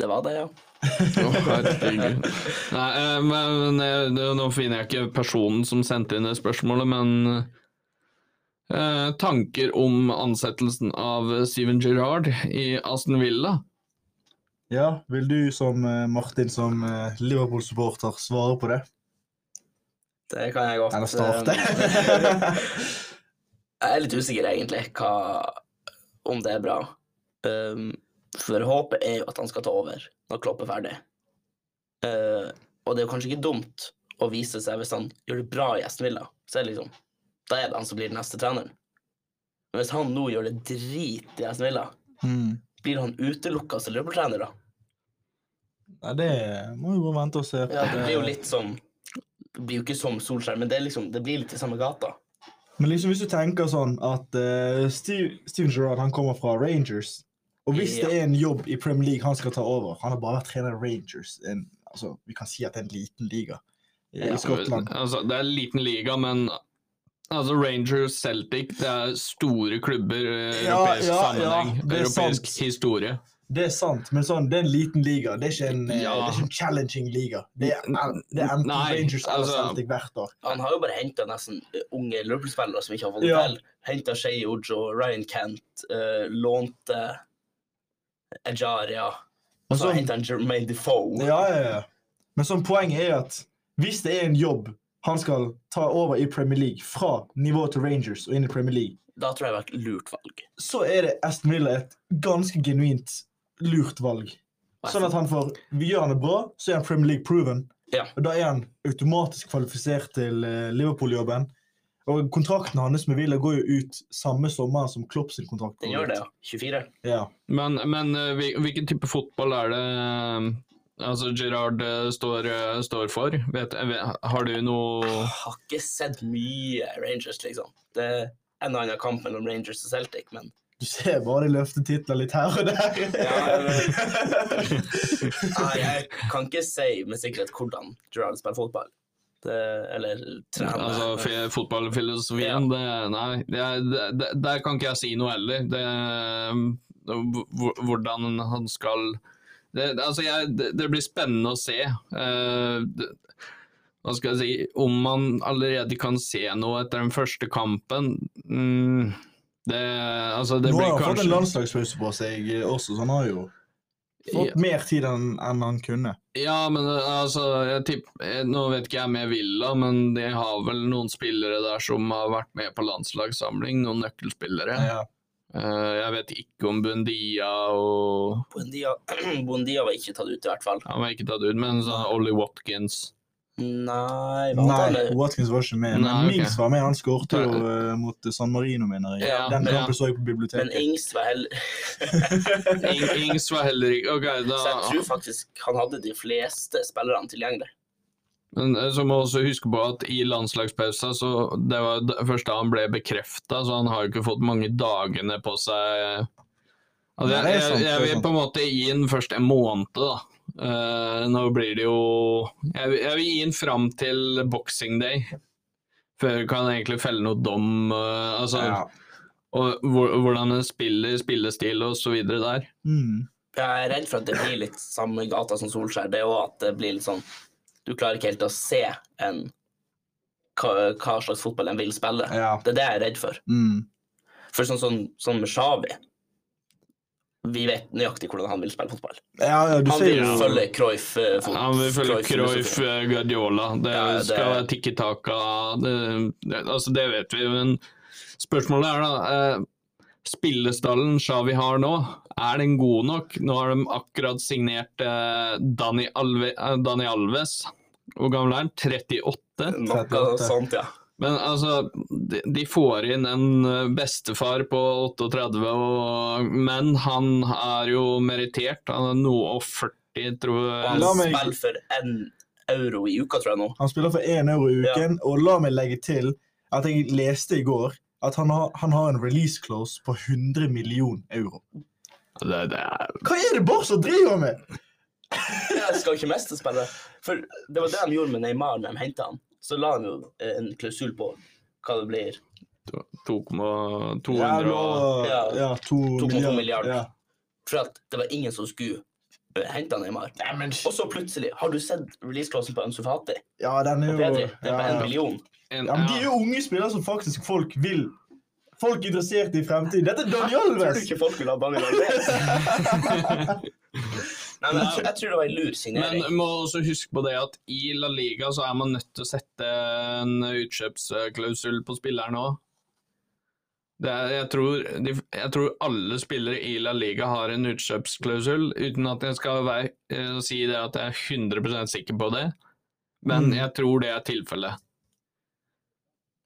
Speaker 4: Det var det, ja.
Speaker 2: Å, herregud. Nei, eh, men eh, det- nå finner jeg ikke personen som sendte inn det spørsmålet, men eh, tanker om ansettelsen av Steven Gerrard i Aston Villa?
Speaker 3: Ja, vil du som eh, Martin som eh, Liverpool-supporter svare på det?
Speaker 4: Det kan jeg godt. eh,
Speaker 3: Eller starte?
Speaker 4: <laughs> jeg er litt usikker, egentlig, hva, om det er bra. Um, for håpet er jo at han skal ta over når Klopp er ferdig. Uh, og det er jo kanskje ikke dumt å vise seg hvis han gjør det bra i Aston Villa. Så er det liksom, da er det han som blir den neste treneren. Men hvis han nå gjør det drit i Aston Villa,
Speaker 3: <laughs> mm.
Speaker 4: blir han utelukka som Liverpool-trener, da?
Speaker 3: Nei, det må vi bare vente og se. på.
Speaker 4: Ja, det blir jo litt som Det blir jo ikke som Solskjær, men det, er liksom, det blir litt i samme gata.
Speaker 3: Men liksom hvis du tenker sånn at eh, Steve, Steven Gerrard han kommer fra Rangers. Og hvis
Speaker 4: Ja.
Speaker 3: det er en jobb i Premier League han skal ta over Han har bare vært trener i Rangers. En, altså, vi kan si at det er en liten liga i
Speaker 4: Ja.
Speaker 3: Skottland.
Speaker 2: Altså, det er en liten liga, men altså, Rangers Celtic det er store klubber i
Speaker 3: Ja,
Speaker 2: europeisk
Speaker 3: ja, ja,
Speaker 2: sammenheng.
Speaker 3: det er
Speaker 2: europeisk
Speaker 3: sant.
Speaker 2: historie.
Speaker 3: Det er sant, men sånn, det er en liten liga. Det er ikke en, eh,
Speaker 2: Ja.
Speaker 3: det er ikke en challenging liga. Det er, det er enten
Speaker 2: Nei,
Speaker 3: Rangers eller
Speaker 2: altså-
Speaker 3: Celtic hvert år.
Speaker 4: Han har jo bare henta nesten eh, unge Liverpool-spillere som ikke har fått det
Speaker 3: Ja.
Speaker 4: til. Henta Shay Ojo, Ryan Kent, eh, lånte Ejaria. Og så
Speaker 3: Altså-
Speaker 4: henta han Jermaine Defoe.
Speaker 3: Ja, ja, ja. Men sånn, poenget er at hvis det er en jobb han skal ta over i Premier League, fra nivå til Rangers og inn i Premier League,
Speaker 4: Da tror jeg det var et lurt valg.
Speaker 3: så er det Aston Villa et ganske genuint lurt valg. Sånn at han får vi Gjør han det bra, så er han Premier League proven.
Speaker 4: Ja.
Speaker 3: Og da er han automatisk kvalifisert til eh, Liverpool-jobben. Og kontrakten hans med Villa går jo ut samme sommer som Klopp sin kontrakt.
Speaker 4: Den
Speaker 3: går
Speaker 4: gjør
Speaker 3: ut.
Speaker 4: det, ja. 24.
Speaker 3: Ja.
Speaker 2: Men, men eh, hvil- hvilken type fotball er det eh, altså Gerard eh, står, eh, står for? Vet, eh, ve- har du noe
Speaker 4: Jeg har ikke sett mye Rangers, liksom. Det er en og annen kamp mellom Rangers og Celtic, men
Speaker 3: Du ser bare de løfter titler litt her og der.
Speaker 4: Ja,
Speaker 3: <laughs>
Speaker 4: Nei, Ah, jeg kan ikke si med sikkerhet hvordan Gerard spiller fotball. Det, eller trener.
Speaker 2: Altså, fi- fotballfilosofien, det Nei, det, er- det, det, der kan ikke jeg si noe heller. Det, hv- hv- hvordan han skal det, det- altså jeg, det, det blir spennende å se. eh, det, hva skal jeg si Om man allerede kan se noe etter den første kampen mm, Det, altså det
Speaker 3: Nå har
Speaker 2: blir
Speaker 3: han fått en
Speaker 2: kanskje
Speaker 3: landslagspause på seg eh, også, så han har jo
Speaker 2: Ja.
Speaker 3: fått mer tid enn enn han kunne.
Speaker 2: Ja, men eh, altså jeg tipp, eh, Nå vet ikke jeg med Villa, men de har vel noen spillere der som har vært med på landslagssamling. Noen nøkkelspillere.
Speaker 3: Ja.
Speaker 2: Eh, jeg vet ikke om Bundia og
Speaker 4: <clears throat> Buendia, Buendia var ikke tatt ut, i hvert fall.
Speaker 2: Han var ikke tatt ut, men sånn Ollie Watkins.
Speaker 4: Nei, var han
Speaker 3: Nei,
Speaker 4: det?
Speaker 3: Watkins var ikke med, men
Speaker 2: Nei, ok.
Speaker 3: Mings var med. Han skåret jo eh, mot San Marino, mener jeg.
Speaker 2: Ja,
Speaker 3: Den
Speaker 2: ja.
Speaker 3: kampen så jeg på
Speaker 4: Men
Speaker 3: biblioteket.
Speaker 4: Ings var heller
Speaker 2: Ing Ings var heller ikke Ok,
Speaker 4: Så jeg tror
Speaker 2: da
Speaker 4: faktisk han hadde de fleste spillerne tilgjengelig.
Speaker 2: Men eh, så må vi også huske på at i landslagspausa, så det var d- først da han ble bekrefta, så han har jo ikke fått mange dagene på seg altså,
Speaker 3: Nei,
Speaker 2: jeg,
Speaker 3: det er sant,
Speaker 2: jeg,
Speaker 3: det er
Speaker 2: jeg vil
Speaker 3: sant.
Speaker 2: på en måte gi den først en måned, da. Eh, nå blir det jo Jeg, vil- jeg vil gi den fram til boxing day. Før kan jeg egentlig felle noe dom. eh, altså,
Speaker 3: Ja.
Speaker 2: og hvor- hvordan en spiller, spillestil og så videre der.
Speaker 3: Mm.
Speaker 4: Jeg er redd for at det blir litt samme gata som Solskjær. Det er også at det blir litt sånn Du klarer ikke helt å se en, hva, hva slags fotball en vil spille.
Speaker 3: ja.
Speaker 4: Det er det jeg er redd for.
Speaker 3: Mm.
Speaker 4: For sånn som sånn, med Shawi Vi vet nøyaktig hvordan han vil spille fotball.
Speaker 3: ja, ja, du
Speaker 4: Han
Speaker 3: ser
Speaker 4: vil
Speaker 3: jo
Speaker 4: følge Cruyff. eh, fot-
Speaker 2: Han vil følge Cruyff,
Speaker 4: filosofi.
Speaker 2: eh, Guardiola. Det
Speaker 4: Ja, det-
Speaker 2: skal være tikki-taka. Det, det, altså, det vet vi, men spørsmålet er da eh, spillestallen Shawi har nå, er den god nok? Nå har de akkurat signert eh, Dani, Alve, eh, Dani Alves. Hvor gammel er han? 38?
Speaker 4: Noe sånt, ja.
Speaker 2: Men altså, de, de får inn en eh, bestefar på 38, og, men han er jo merittert. Han er noe og 40, tror
Speaker 4: Og han
Speaker 2: jeg.
Speaker 3: La meg-
Speaker 4: spiller for én euro i uka, tror jeg nå.
Speaker 3: Han spiller for én euro i uken, og la meg legge til at jeg leste i går at han har, han har en release close på 100 million euro.
Speaker 2: Det, det er
Speaker 3: Hva er det Barca driver med?!
Speaker 4: Jeg skal ikke miste spillet. For det var det de gjorde med Neymar når de hentet han. Så la han jo eh, en klausul på hva det blir.
Speaker 2: to- 2,200
Speaker 3: Ja, nå,
Speaker 2: og
Speaker 3: ja,
Speaker 4: Ja.
Speaker 3: to
Speaker 4: 2,2
Speaker 3: milliard-
Speaker 4: milliard.
Speaker 3: Ja.
Speaker 4: For at det var ingen som skulle eh, hente han Neymar. Og så plutselig, har du sett release-clausen på Ansu Fati?
Speaker 3: ja, den er
Speaker 4: Og
Speaker 3: jo
Speaker 4: Pedri? Det er på
Speaker 3: ja,
Speaker 4: en
Speaker 3: ja.
Speaker 4: million.
Speaker 2: en-
Speaker 3: Ja, men De er jo unge spillere som faktisk folk vil. Folk interessert i fremtiden. Dette er Daniel
Speaker 4: Tror du
Speaker 3: Alves!
Speaker 4: ikke folk vil ha ballen i
Speaker 3: <laughs>
Speaker 4: Nei, men jeg, tror- jeg tror det var en lur signering.
Speaker 2: Men må også huske på det at i La Liga så er man nødt til å sette en utkjøpsklausul på spilleren òg. Jeg, tror de- jeg tror alle spillere i La Liga har en utkjøpsklausul, uten at jeg skal være, eh, si det at jeg er 100 sikker på det, men
Speaker 3: Mm.
Speaker 2: jeg tror det er tilfellet.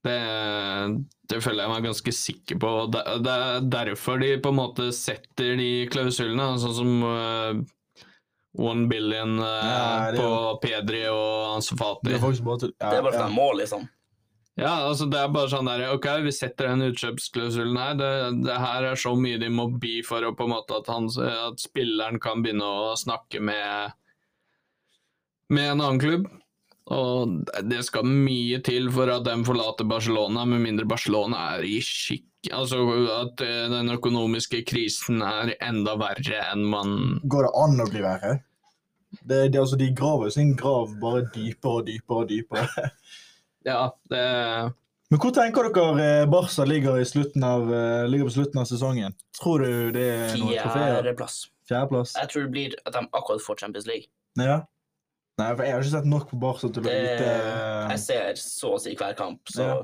Speaker 2: Det, det føler jeg meg ganske sikker på. og Det, det er derfor de på en måte setter de klausulene, sånn som eh, One billion eh,
Speaker 3: Ja, det er
Speaker 2: på
Speaker 3: jo-
Speaker 2: Pedri og Ansu Fati.
Speaker 3: Det er faktisk bare tull. Ja,
Speaker 4: Det er bare
Speaker 3: ja.
Speaker 4: sånn mål, liksom.
Speaker 2: Ja, altså det er bare sånn der, ok, vi setter den utkjøpsklausulen her, det, det her er så mye de må by for å på en måte at, han, at spilleren kan begynne å snakke med, med en annen klubb. Og det skal mye til for at de forlater Barcelona, med mindre Barcelona er i skikk. Altså at eh, den økonomiske krisen er enda verre enn man
Speaker 3: Går det an å bli verre? Det, det, er altså, de graver sin grav bare dypere og dypere og dypere. <laughs>
Speaker 2: Ja, det
Speaker 3: Men hvor tenker dere eh, Barca ligger, i slutten av, eh, ligger på slutten av sesongen? Tror du det er Eh, noe trofeer?
Speaker 4: Fjerdeplass.
Speaker 3: Fjerdeplass?
Speaker 4: Jeg tror det blir at de akkurat får Champions League.
Speaker 3: Ja. Nei, for jeg har ikke sett nok på Barca til å
Speaker 4: Det,
Speaker 3: vite eh,
Speaker 4: jeg ser så å si hver kamp, så
Speaker 3: Ja.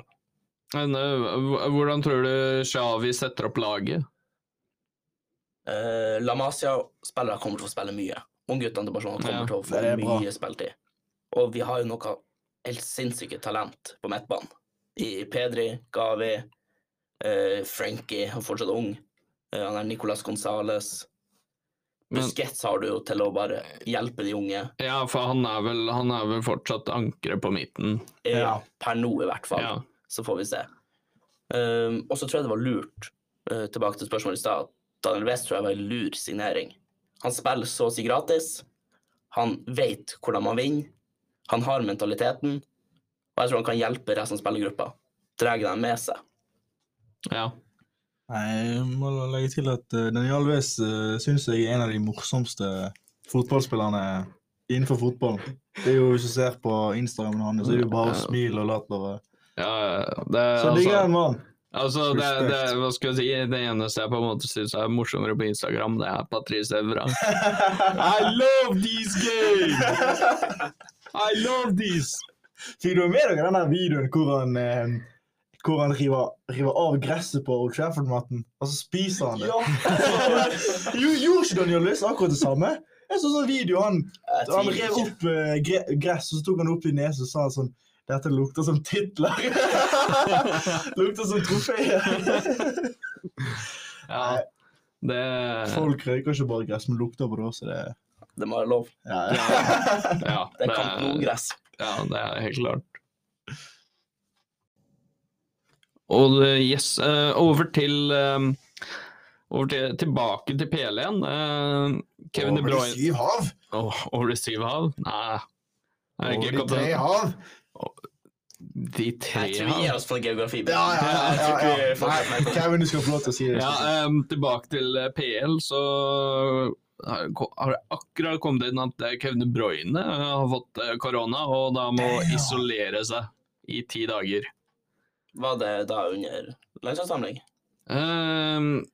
Speaker 2: Men eh, hv- hvordan tror du Xavi setter opp laget?
Speaker 4: Eh, La Masia-spillere kommer til å få spille mye. Ungguttene til Barcelona kommer
Speaker 2: Ja,
Speaker 4: til å få
Speaker 3: det er bra.
Speaker 4: mye spilletid. Og vi har jo noe helt sinnssyke talent på midtbanen. I Pedri, Gavi, eh, Frankie, han er fortsatt ung. Eh, han er Nicolas Gonzales.
Speaker 2: Men-
Speaker 4: Busquets har du jo til å bare hjelpe de unge.
Speaker 2: Ja, for han er vel, han er vel fortsatt ankeret på midten.
Speaker 4: Eh,
Speaker 3: Ja.
Speaker 4: Per nå, i hvert fall.
Speaker 2: Ja.
Speaker 4: Så får vi se. Um, og så tror jeg det var lurt, eh, tilbake til spørsmålet i stad, at Daniel West tror jeg var en lur signering. Han spiller så å si gratis. Han vet hvordan man vinner. Han har mentaliteten. Og jeg tror han kan hjelpe resten av spillergruppa. Drar dem med seg.
Speaker 2: ja.
Speaker 3: Nei, jeg må legge til at uh, Daniel Alves uh, syns jeg er en av de morsomste fotballspillerne innenfor fotballen. Det er jo Hvis du ser på Instagramen hans, så er det jo
Speaker 2: Ja.
Speaker 3: bare smil og latter. og-
Speaker 2: ja det,
Speaker 3: Så digger jeg
Speaker 2: altså,
Speaker 3: en mann.
Speaker 2: altså det, det, hva skal jeg si, det eneste jeg på en måte syns er morsommere på Instagram, det er Patrice Evra. <laughs> I love these games! I love these!
Speaker 3: Fikk du med dere den der videoen hvor han, eh, hvor han river, river av gresset på Old Trafford-matten, og så spiser
Speaker 4: <laughs>
Speaker 3: han det? jo, gjorde ikke Daniel Alves akkurat det samme? Jeg så sånn video han
Speaker 4: Jeg
Speaker 3: Så Han
Speaker 4: tviler
Speaker 3: rev
Speaker 4: ikke.
Speaker 3: opp eh, gre gress, og så tok han opp i nesen og sa han sånn Dette lukter
Speaker 2: <laughs>
Speaker 3: som titler! lukter som
Speaker 2: <laughs>
Speaker 3: trofeer!
Speaker 2: Ja, det
Speaker 3: Folk røyker ikke bare gress, men lukter på det også. Det,
Speaker 4: Det må være lov.
Speaker 3: ja,
Speaker 2: ja,
Speaker 4: Det er kamp nå, gress.
Speaker 2: Ja, det er helt klart. Og det- yes, eh, over til eh, over til, Tilbake til PL igjen. eh, Kevin De Bruyne
Speaker 3: hav!
Speaker 2: Åh, Over de syv hav? Nei. Er det ikke kaptein-
Speaker 3: hav!
Speaker 2: De tre
Speaker 4: Jeg tror vi gir
Speaker 2: hav?
Speaker 4: oss på geografi.
Speaker 3: Ja, ja, ja, ja, ja.
Speaker 4: <laughs> Jeg tror ikke vi fortsetter med det.
Speaker 3: Kevin, du skal få lov til å si det.
Speaker 2: Ja, em, tilbake til eh, PL, så har har det akkurat kommet inn at eh, Kevin De Bruyne eh, har fått eh, korona, og da må
Speaker 3: Damn.
Speaker 2: isolere seg i ti dager.
Speaker 4: Var det da under landslagssamling?
Speaker 2: Ehm,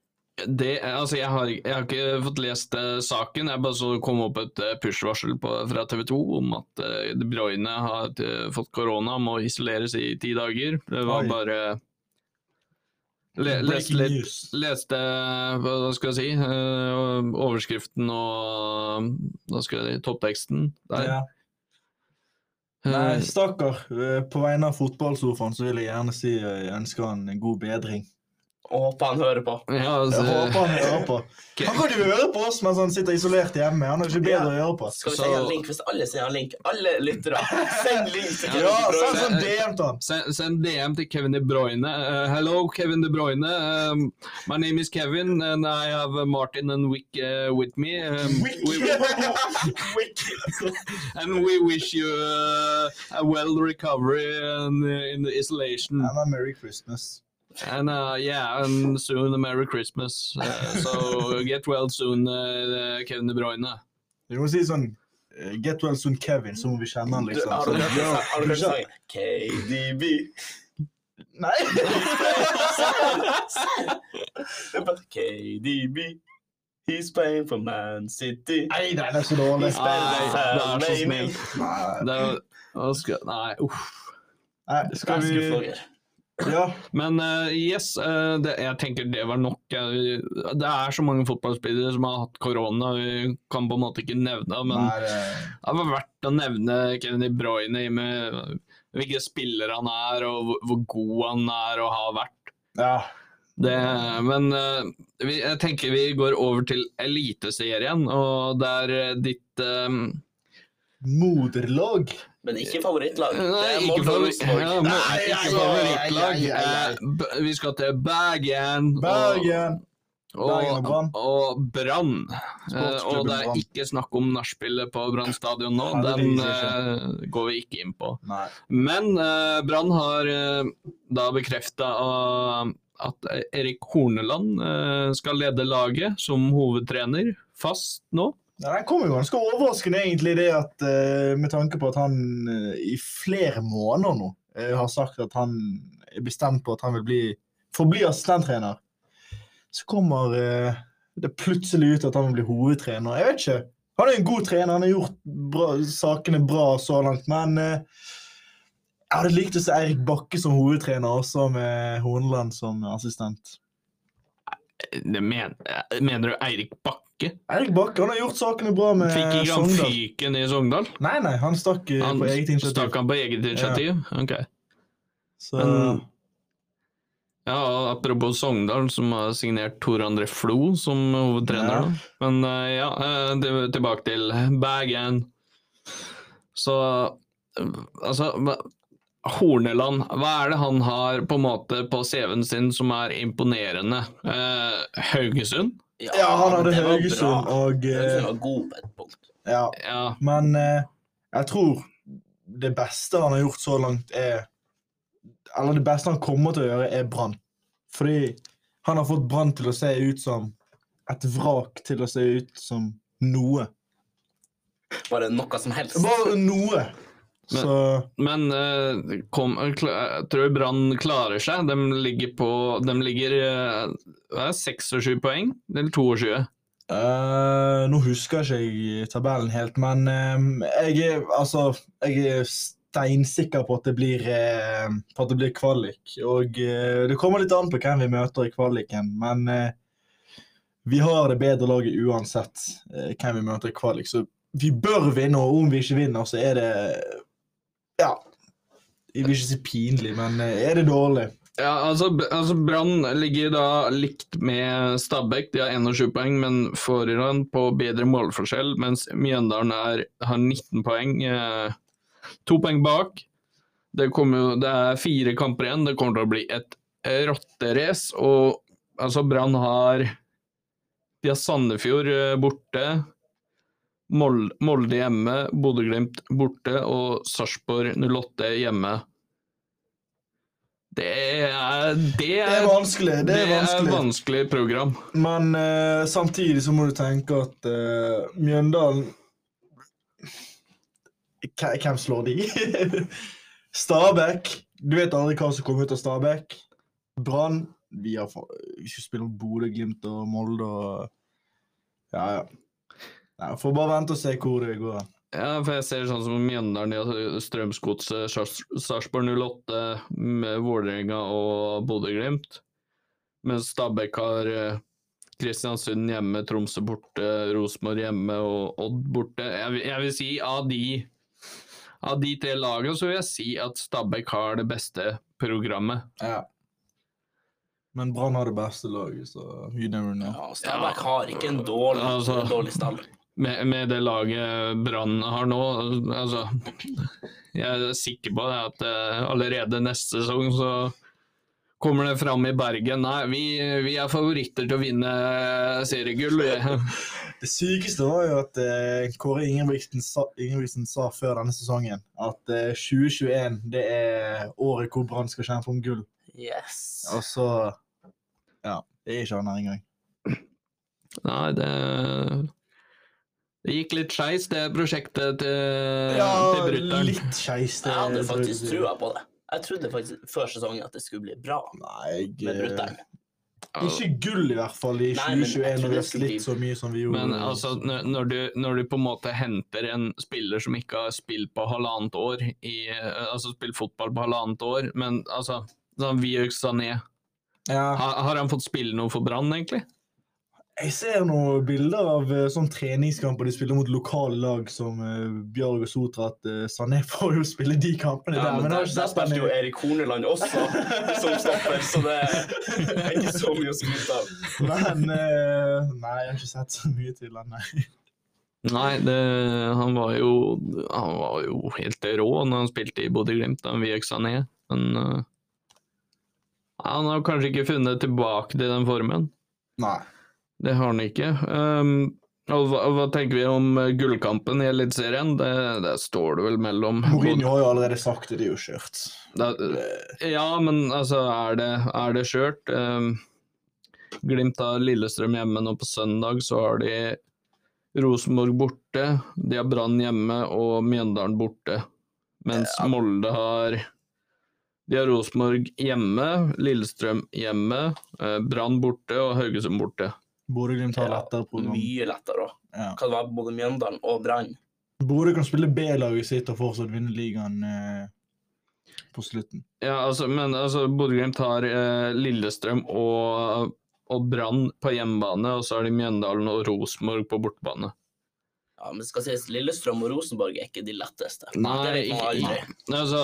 Speaker 2: det, altså jeg, har, jeg har ikke fått lest eh, saken, jeg bare så det kom opp et eh, push-varsel på- fra TV 2 om at eh, De Bruyne har eh, fått korona, må isoleres i ti dager. Det var
Speaker 3: Oi.
Speaker 2: bare Le, lest
Speaker 3: Breaking
Speaker 2: litt
Speaker 3: news.
Speaker 2: Leste hva skal jeg si, eh, overskriften og hva skal jeg si, toppteksten der.
Speaker 3: Ja.
Speaker 2: Eh,
Speaker 3: Nei, stakkar. Eh, På vegne av fotballsofaen så vil jeg gjerne si eh, jeg ønsker han en god bedring.
Speaker 4: Og håper han hører på.
Speaker 2: ja,
Speaker 3: Jeg håper
Speaker 2: altså,
Speaker 3: han hører på.
Speaker 2: <laughs> ok.
Speaker 3: Han kan jo høre på oss mens han sitter isolert hjemme. Han har ikke bedre å høre på.
Speaker 4: Skal vi
Speaker 2: Så-
Speaker 4: sende en link hvis alle sender en link? Alle
Speaker 3: <laughs>
Speaker 4: lyttere. Send link til Kevin
Speaker 3: Ja,
Speaker 4: De Bruyne.
Speaker 3: sånn som DM til han.
Speaker 2: Send, send DM til Kevin De Bruyne. Uh, hello, Kevin De Bruyne. Um, my name is Kevin, and I have uh, Martin and Wick uh, with me. Um, we, and we wish you uh, a well recovery and, uh, in the isolation.
Speaker 3: And a Merry Christmas.
Speaker 2: And uh, yeah, and soon a Merry Christmas. Uh, so get well soon, uh, Kevin De Bruyne.
Speaker 3: Vi må si sånn eh, Get well soon, Kevin, så må vi kjenne han,
Speaker 4: Du,
Speaker 3: liksom.
Speaker 4: har du
Speaker 3: Sånn,
Speaker 4: hørt det?
Speaker 3: ja.
Speaker 4: Har du hørt det? KDB.
Speaker 3: Nei! <laughs>
Speaker 4: Det er bare KDB. He's playing for Man City.
Speaker 3: Nei, nei, det er så dårlig.
Speaker 4: He's playing
Speaker 2: Nei,
Speaker 4: for
Speaker 2: vær så
Speaker 4: Man
Speaker 2: snill.
Speaker 4: United.
Speaker 3: Nei,
Speaker 2: Det er, hva skal, nei, uff.
Speaker 3: Nei, skal
Speaker 4: Ganske
Speaker 3: vi
Speaker 4: flogger.
Speaker 3: Ja.
Speaker 2: Men eh, yes, eh, det, jeg tenker det var nok. Jeg, det er så mange fotballspillere som har hatt korona, vi kan på en måte ikke nevne men
Speaker 3: Nei, det-
Speaker 2: det var verdt å nevne Kevin De Bruyne i og med eh, hvilke spillere han er, og hvor- hvor god han er og har vært.
Speaker 3: ja.
Speaker 2: Det, men eh, vi, jeg tenker vi går over til Eliteserien, og der eh, ditt eh,
Speaker 3: Moderlag.
Speaker 4: Men ikke favorittlag. Det
Speaker 2: Nei,
Speaker 4: er
Speaker 2: ikke
Speaker 4: Molde og
Speaker 2: favori-
Speaker 4: Rosenborg.
Speaker 2: ja, men-
Speaker 4: Nei,
Speaker 2: ikke
Speaker 4: altså,
Speaker 2: favorittlag.
Speaker 3: ai, ai, ai, ai.
Speaker 2: Eh, b- Vi skal til Bergen. Eh, og-
Speaker 3: Bergen.
Speaker 2: Og,
Speaker 3: Bergen og Brann.
Speaker 2: og Brann. Eh,
Speaker 3: Sportsklubben
Speaker 2: og det er
Speaker 3: Brann.
Speaker 2: ikke snakk om nachspielet på Brann stadion nå.
Speaker 3: Nei, det
Speaker 2: Den
Speaker 3: viser
Speaker 2: eh, går vi ikke inn på.
Speaker 3: Nei.
Speaker 2: Men eh, Brann har eh, da bekrefta at Erik Horneland eh, skal lede laget som hovedtrener fast nå.
Speaker 3: Ja, den kom jo ganske overraskende, egentlig, det at eh, med tanke på at han eh, i flere måneder nå eh, har sagt at han er bestemt på at han vil bli, forbli assistenttrener, så kommer eh, det plutselig ut at han vil bli hovedtrener. Jeg vet ikke. Han er en god trener, han har gjort bra, sakene bra så langt, men eh, jeg hadde likt å se Eirik Bakke som hovedtrener, også med Horneland som assistent.
Speaker 2: Det men, eh, mener du Eirik Bakke?
Speaker 3: Eirik Bakke han har gjort sakene bra med
Speaker 2: Fikk ikke han
Speaker 3: Sogndal.
Speaker 2: fyken i Sogndal?
Speaker 3: Nei, nei, han stakk eh,
Speaker 2: Han
Speaker 3: på eget initiativ.
Speaker 2: stakk han på eget initiativ? Ok.
Speaker 3: Så
Speaker 2: Men- Ja, og apropos Sogndal, som har signert Tor André Flo som hovedtrener.
Speaker 3: Ja.
Speaker 2: nå. Men eh, ja, eh, det, tilbake til Bergen. Så eh, altså hva- Horneland, hva er det han har på en måte på CV-en sin som er imponerende? Eh, Haugesund?
Speaker 3: ja, han hadde
Speaker 4: det var bra.
Speaker 3: Haugesund og eh,
Speaker 4: Haugesund var god på et punkt.
Speaker 3: Ja.
Speaker 2: Ja.
Speaker 3: Men eh, jeg tror det beste han har gjort så langt, er Eller det beste han kommer til å gjøre, er Brann. Fordi han har fått Brann til å se ut som et vrak til å se ut som noe.
Speaker 4: Bare noe som helst.
Speaker 3: Bare noe!
Speaker 2: Men-
Speaker 3: Så
Speaker 2: Men eh, kom, kla- jeg tror Brann klarer seg. De ligger på De ligger eh, hva er det, 26 poeng, eller 22?
Speaker 3: eh, Nå husker jeg ikke jeg tabellen helt, men eh, jeg er altså Jeg er steinsikker på at det blir, eh, på at det blir kvalik. Og eh, det kommer litt an på hvem vi møter i kvaliken, men eh, vi har det bedre laget uansett eh, hvem vi møter i kvalik. Så vi bør vinne, og om vi ikke vinner, så er det Ja. Jeg vil ikke si pinlig, men eh, er det dårlig?
Speaker 2: Ja, altså, altså Brann ligger da likt med Stabæk, de har 21 poeng, men foran på bedre målforskjell, mens Mjøndalen er, har 19 poeng. Eh, to poeng bak. Det, kommer, jo- det er fire kamper igjen, det kommer til å bli et rotterace. Og altså, Brann har De har Sandefjord eh, borte, Mol- Molde hjemme, Bodø-Glimt borte og Sarpsborg 08 hjemme. Det er, det
Speaker 3: Det
Speaker 2: er
Speaker 3: er vanskelig. Det er
Speaker 2: vanskelig.
Speaker 3: vanskelig.
Speaker 2: program.
Speaker 3: Men eh, samtidig så må du tenke at eh, Mjøndalen K Hvem slår de? <laughs> Stabæk. Du vet aldri hva som kommer ut av Stabæk. Brann. Vi har fa- vi skal spille mot Bodø, Glimt og Molde og Ja, ja. Nei, Får bare vente og se hvor det går.
Speaker 2: Ja, for jeg ser sånn som Mjøndalen, de har Strømsgodset, Sars- Sarpsborg 08, med Vålerenga og Bodø-Glimt. Mens Stabæk har eh, Kristiansund hjemme, Tromsø borte, Rosenborg hjemme og Odd borte. Jeg, vil- jeg vil si av de, av de tre lagene så vil jeg si at Stabæk har det beste programmet.
Speaker 3: Ja. Men Brann har det beste laget, så you never know.
Speaker 4: Ja, altså, Stabæk har ikke en dårlig,
Speaker 2: Altså.
Speaker 4: en dårlig stall.
Speaker 2: Med, med det laget Brann har nå, altså Jeg er sikker på det at eh, allerede neste sesong så kommer det fram i Bergen. Nei, vi, vi er favoritter til å vinne eh, seriegull. vi.
Speaker 3: Det sykeste var jo at eh, Kåre Ingebrigtsen sa, Ingebrigtsen sa før denne sesongen at eh, 2021 det er året hvor Brann skal kjempe om gull.
Speaker 4: Yes.
Speaker 3: Og så Ja. Det er ikke han her engang.
Speaker 2: Nei, det Det gikk litt skeis, det prosjektet til, til brutter'n.
Speaker 3: litt skeis. det
Speaker 4: Jeg hadde faktisk
Speaker 3: tror jeg.
Speaker 4: trua på det. Jeg trodde faktisk før sesongen at det skulle bli bra
Speaker 3: Nei, jeg,
Speaker 4: med
Speaker 3: eh,
Speaker 4: brutter'n.
Speaker 3: Ikke gull, i hvert fall, i
Speaker 4: Nei, men
Speaker 3: 2021,
Speaker 4: jeg tror
Speaker 3: når vi
Speaker 4: det
Speaker 3: har
Speaker 4: skulle
Speaker 3: slitt så mye som vi gjorde.
Speaker 2: Men altså, når- når du, når du på en måte henter en spiller som ikke har spilt på halvannet år, i, eh, altså spilt fotball på halvannet år, men altså sånn Vieux Sané,
Speaker 3: ja.
Speaker 2: har, har han fått spille noe for Brann, egentlig?
Speaker 3: Jeg ser noen bilder av eh, sånn treningskamper de spiller mot lokale lag som eh, Bjørg og Sotrat. eh, Sané <laughs> får jo spille de kampene
Speaker 4: Ja,
Speaker 3: der,
Speaker 4: men
Speaker 3: men jeg
Speaker 4: der,
Speaker 3: har ikke
Speaker 4: der
Speaker 3: sett han
Speaker 4: spilte jo
Speaker 3: i-
Speaker 4: Erik Horneland også som stopper, så det er ikke så mye å skryte av.
Speaker 3: Men eh, nei, jeg har ikke sett så mye til han, nei.
Speaker 2: Nei, det, han, var jo, han var jo helt rå når han spilte i Bodø-Glimt, da Vieux Sané, men eh, han har kanskje ikke funnet tilbake til den formen.
Speaker 3: Nei.
Speaker 2: Det har han ikke. Ehm, og hva, hva tenker vi om eh, gullkampen i Eliteserien? Det, det står det vel mellom.
Speaker 3: Mourinho har jo allerede sagt det, det er jo skjørt.
Speaker 2: Da- ja, men altså, er det, er det skjørt? Ehm, Glimt har Lillestrøm hjemme nå på søndag, så har de Rosenborg borte, de har Brann hjemme og Mjøndalen borte. Mens Molde har De har Rosenborg hjemme, Lillestrøm hjemme, eh, Brann borte og Haugesund borte.
Speaker 3: Bodø-Glimt har
Speaker 4: Ja,
Speaker 3: lettere program.
Speaker 4: Mye lettere òg.
Speaker 3: Ja.
Speaker 4: Kan være både Mjøndalen og Brann.
Speaker 3: Bodø kan spille B-laget sitt og fortsatt vinne ligaen eh, på slutten.
Speaker 2: Ja, altså, men altså, Bodø-Glimt har eh, Lillestrøm og, og Brann på hjemmebane, og så har de Mjøndalen og Rosenborg på bortebane.
Speaker 4: Ja, men det skal sies, Lillestrøm og Rosenborg er ikke de letteste.
Speaker 2: Nei,
Speaker 4: det vet man
Speaker 2: ikke-
Speaker 4: aldri.
Speaker 2: Altså,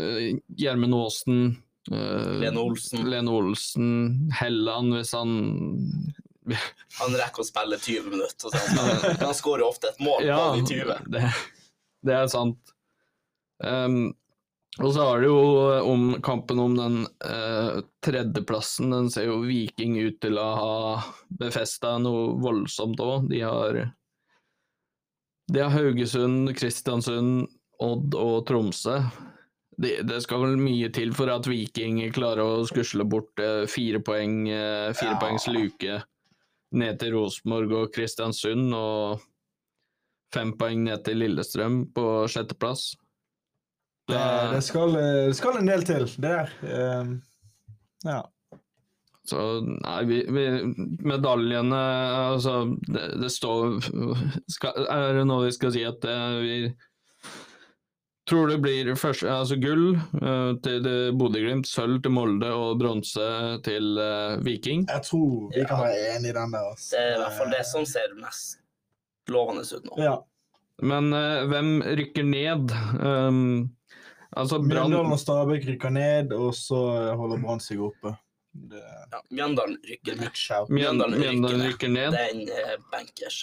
Speaker 2: eh, Gjermund Aasen eh,
Speaker 4: Lene Olsen.
Speaker 2: Lene Olsen, Helland, hvis han
Speaker 4: Han rekker å spille 20 minutter. Så han, skal- han skårer jo ofte et mål på de 20.
Speaker 2: det, det er sant. Ehm, og så har det jo eh, om kampen om den eh, tredjeplassen. Den ser jo Viking ut til å ha befesta noe voldsomt òg. De har de har Haugesund, Kristiansund, Odd og Tromsø. Det, det skal vel mye til for at Viking klarer å skusle bort eh, fire poeng, eh, fire
Speaker 3: Ja.
Speaker 2: poengs luke ned til Rosenborg og Kristiansund, og fem poeng ned til Lillestrøm på sjetteplass.
Speaker 3: Det, det, skal, eh, det skal en del til, det der. Eh, ja.
Speaker 2: Så nei, vi, vi Medaljene Altså, det, det står skal, Er det nå vi skal si at eh, vi tror det blir først, altså gull eh, til det Bodø-Glimt, sølv til Molde og bronse til eh, Viking?
Speaker 3: Jeg tror vi kan være enige i den der. ass.
Speaker 4: Det er i hvert fall det som ser mest lovende ut nå.
Speaker 3: Eh, Ja.
Speaker 2: Men eh, hvem rykker ned? Um, altså,
Speaker 3: Mjøndalen
Speaker 2: Brann
Speaker 3: og Stabæk rykker ned, og så holder Brann seg oppe. Det
Speaker 4: Ja, Mjøndalen rykker
Speaker 3: det
Speaker 4: ned.
Speaker 3: blir shout.
Speaker 2: Mjøndalen,
Speaker 4: Mjøndalen rykker
Speaker 2: Mjøndalen
Speaker 4: ned.
Speaker 2: rykker ned.
Speaker 4: Den er eh, bankers.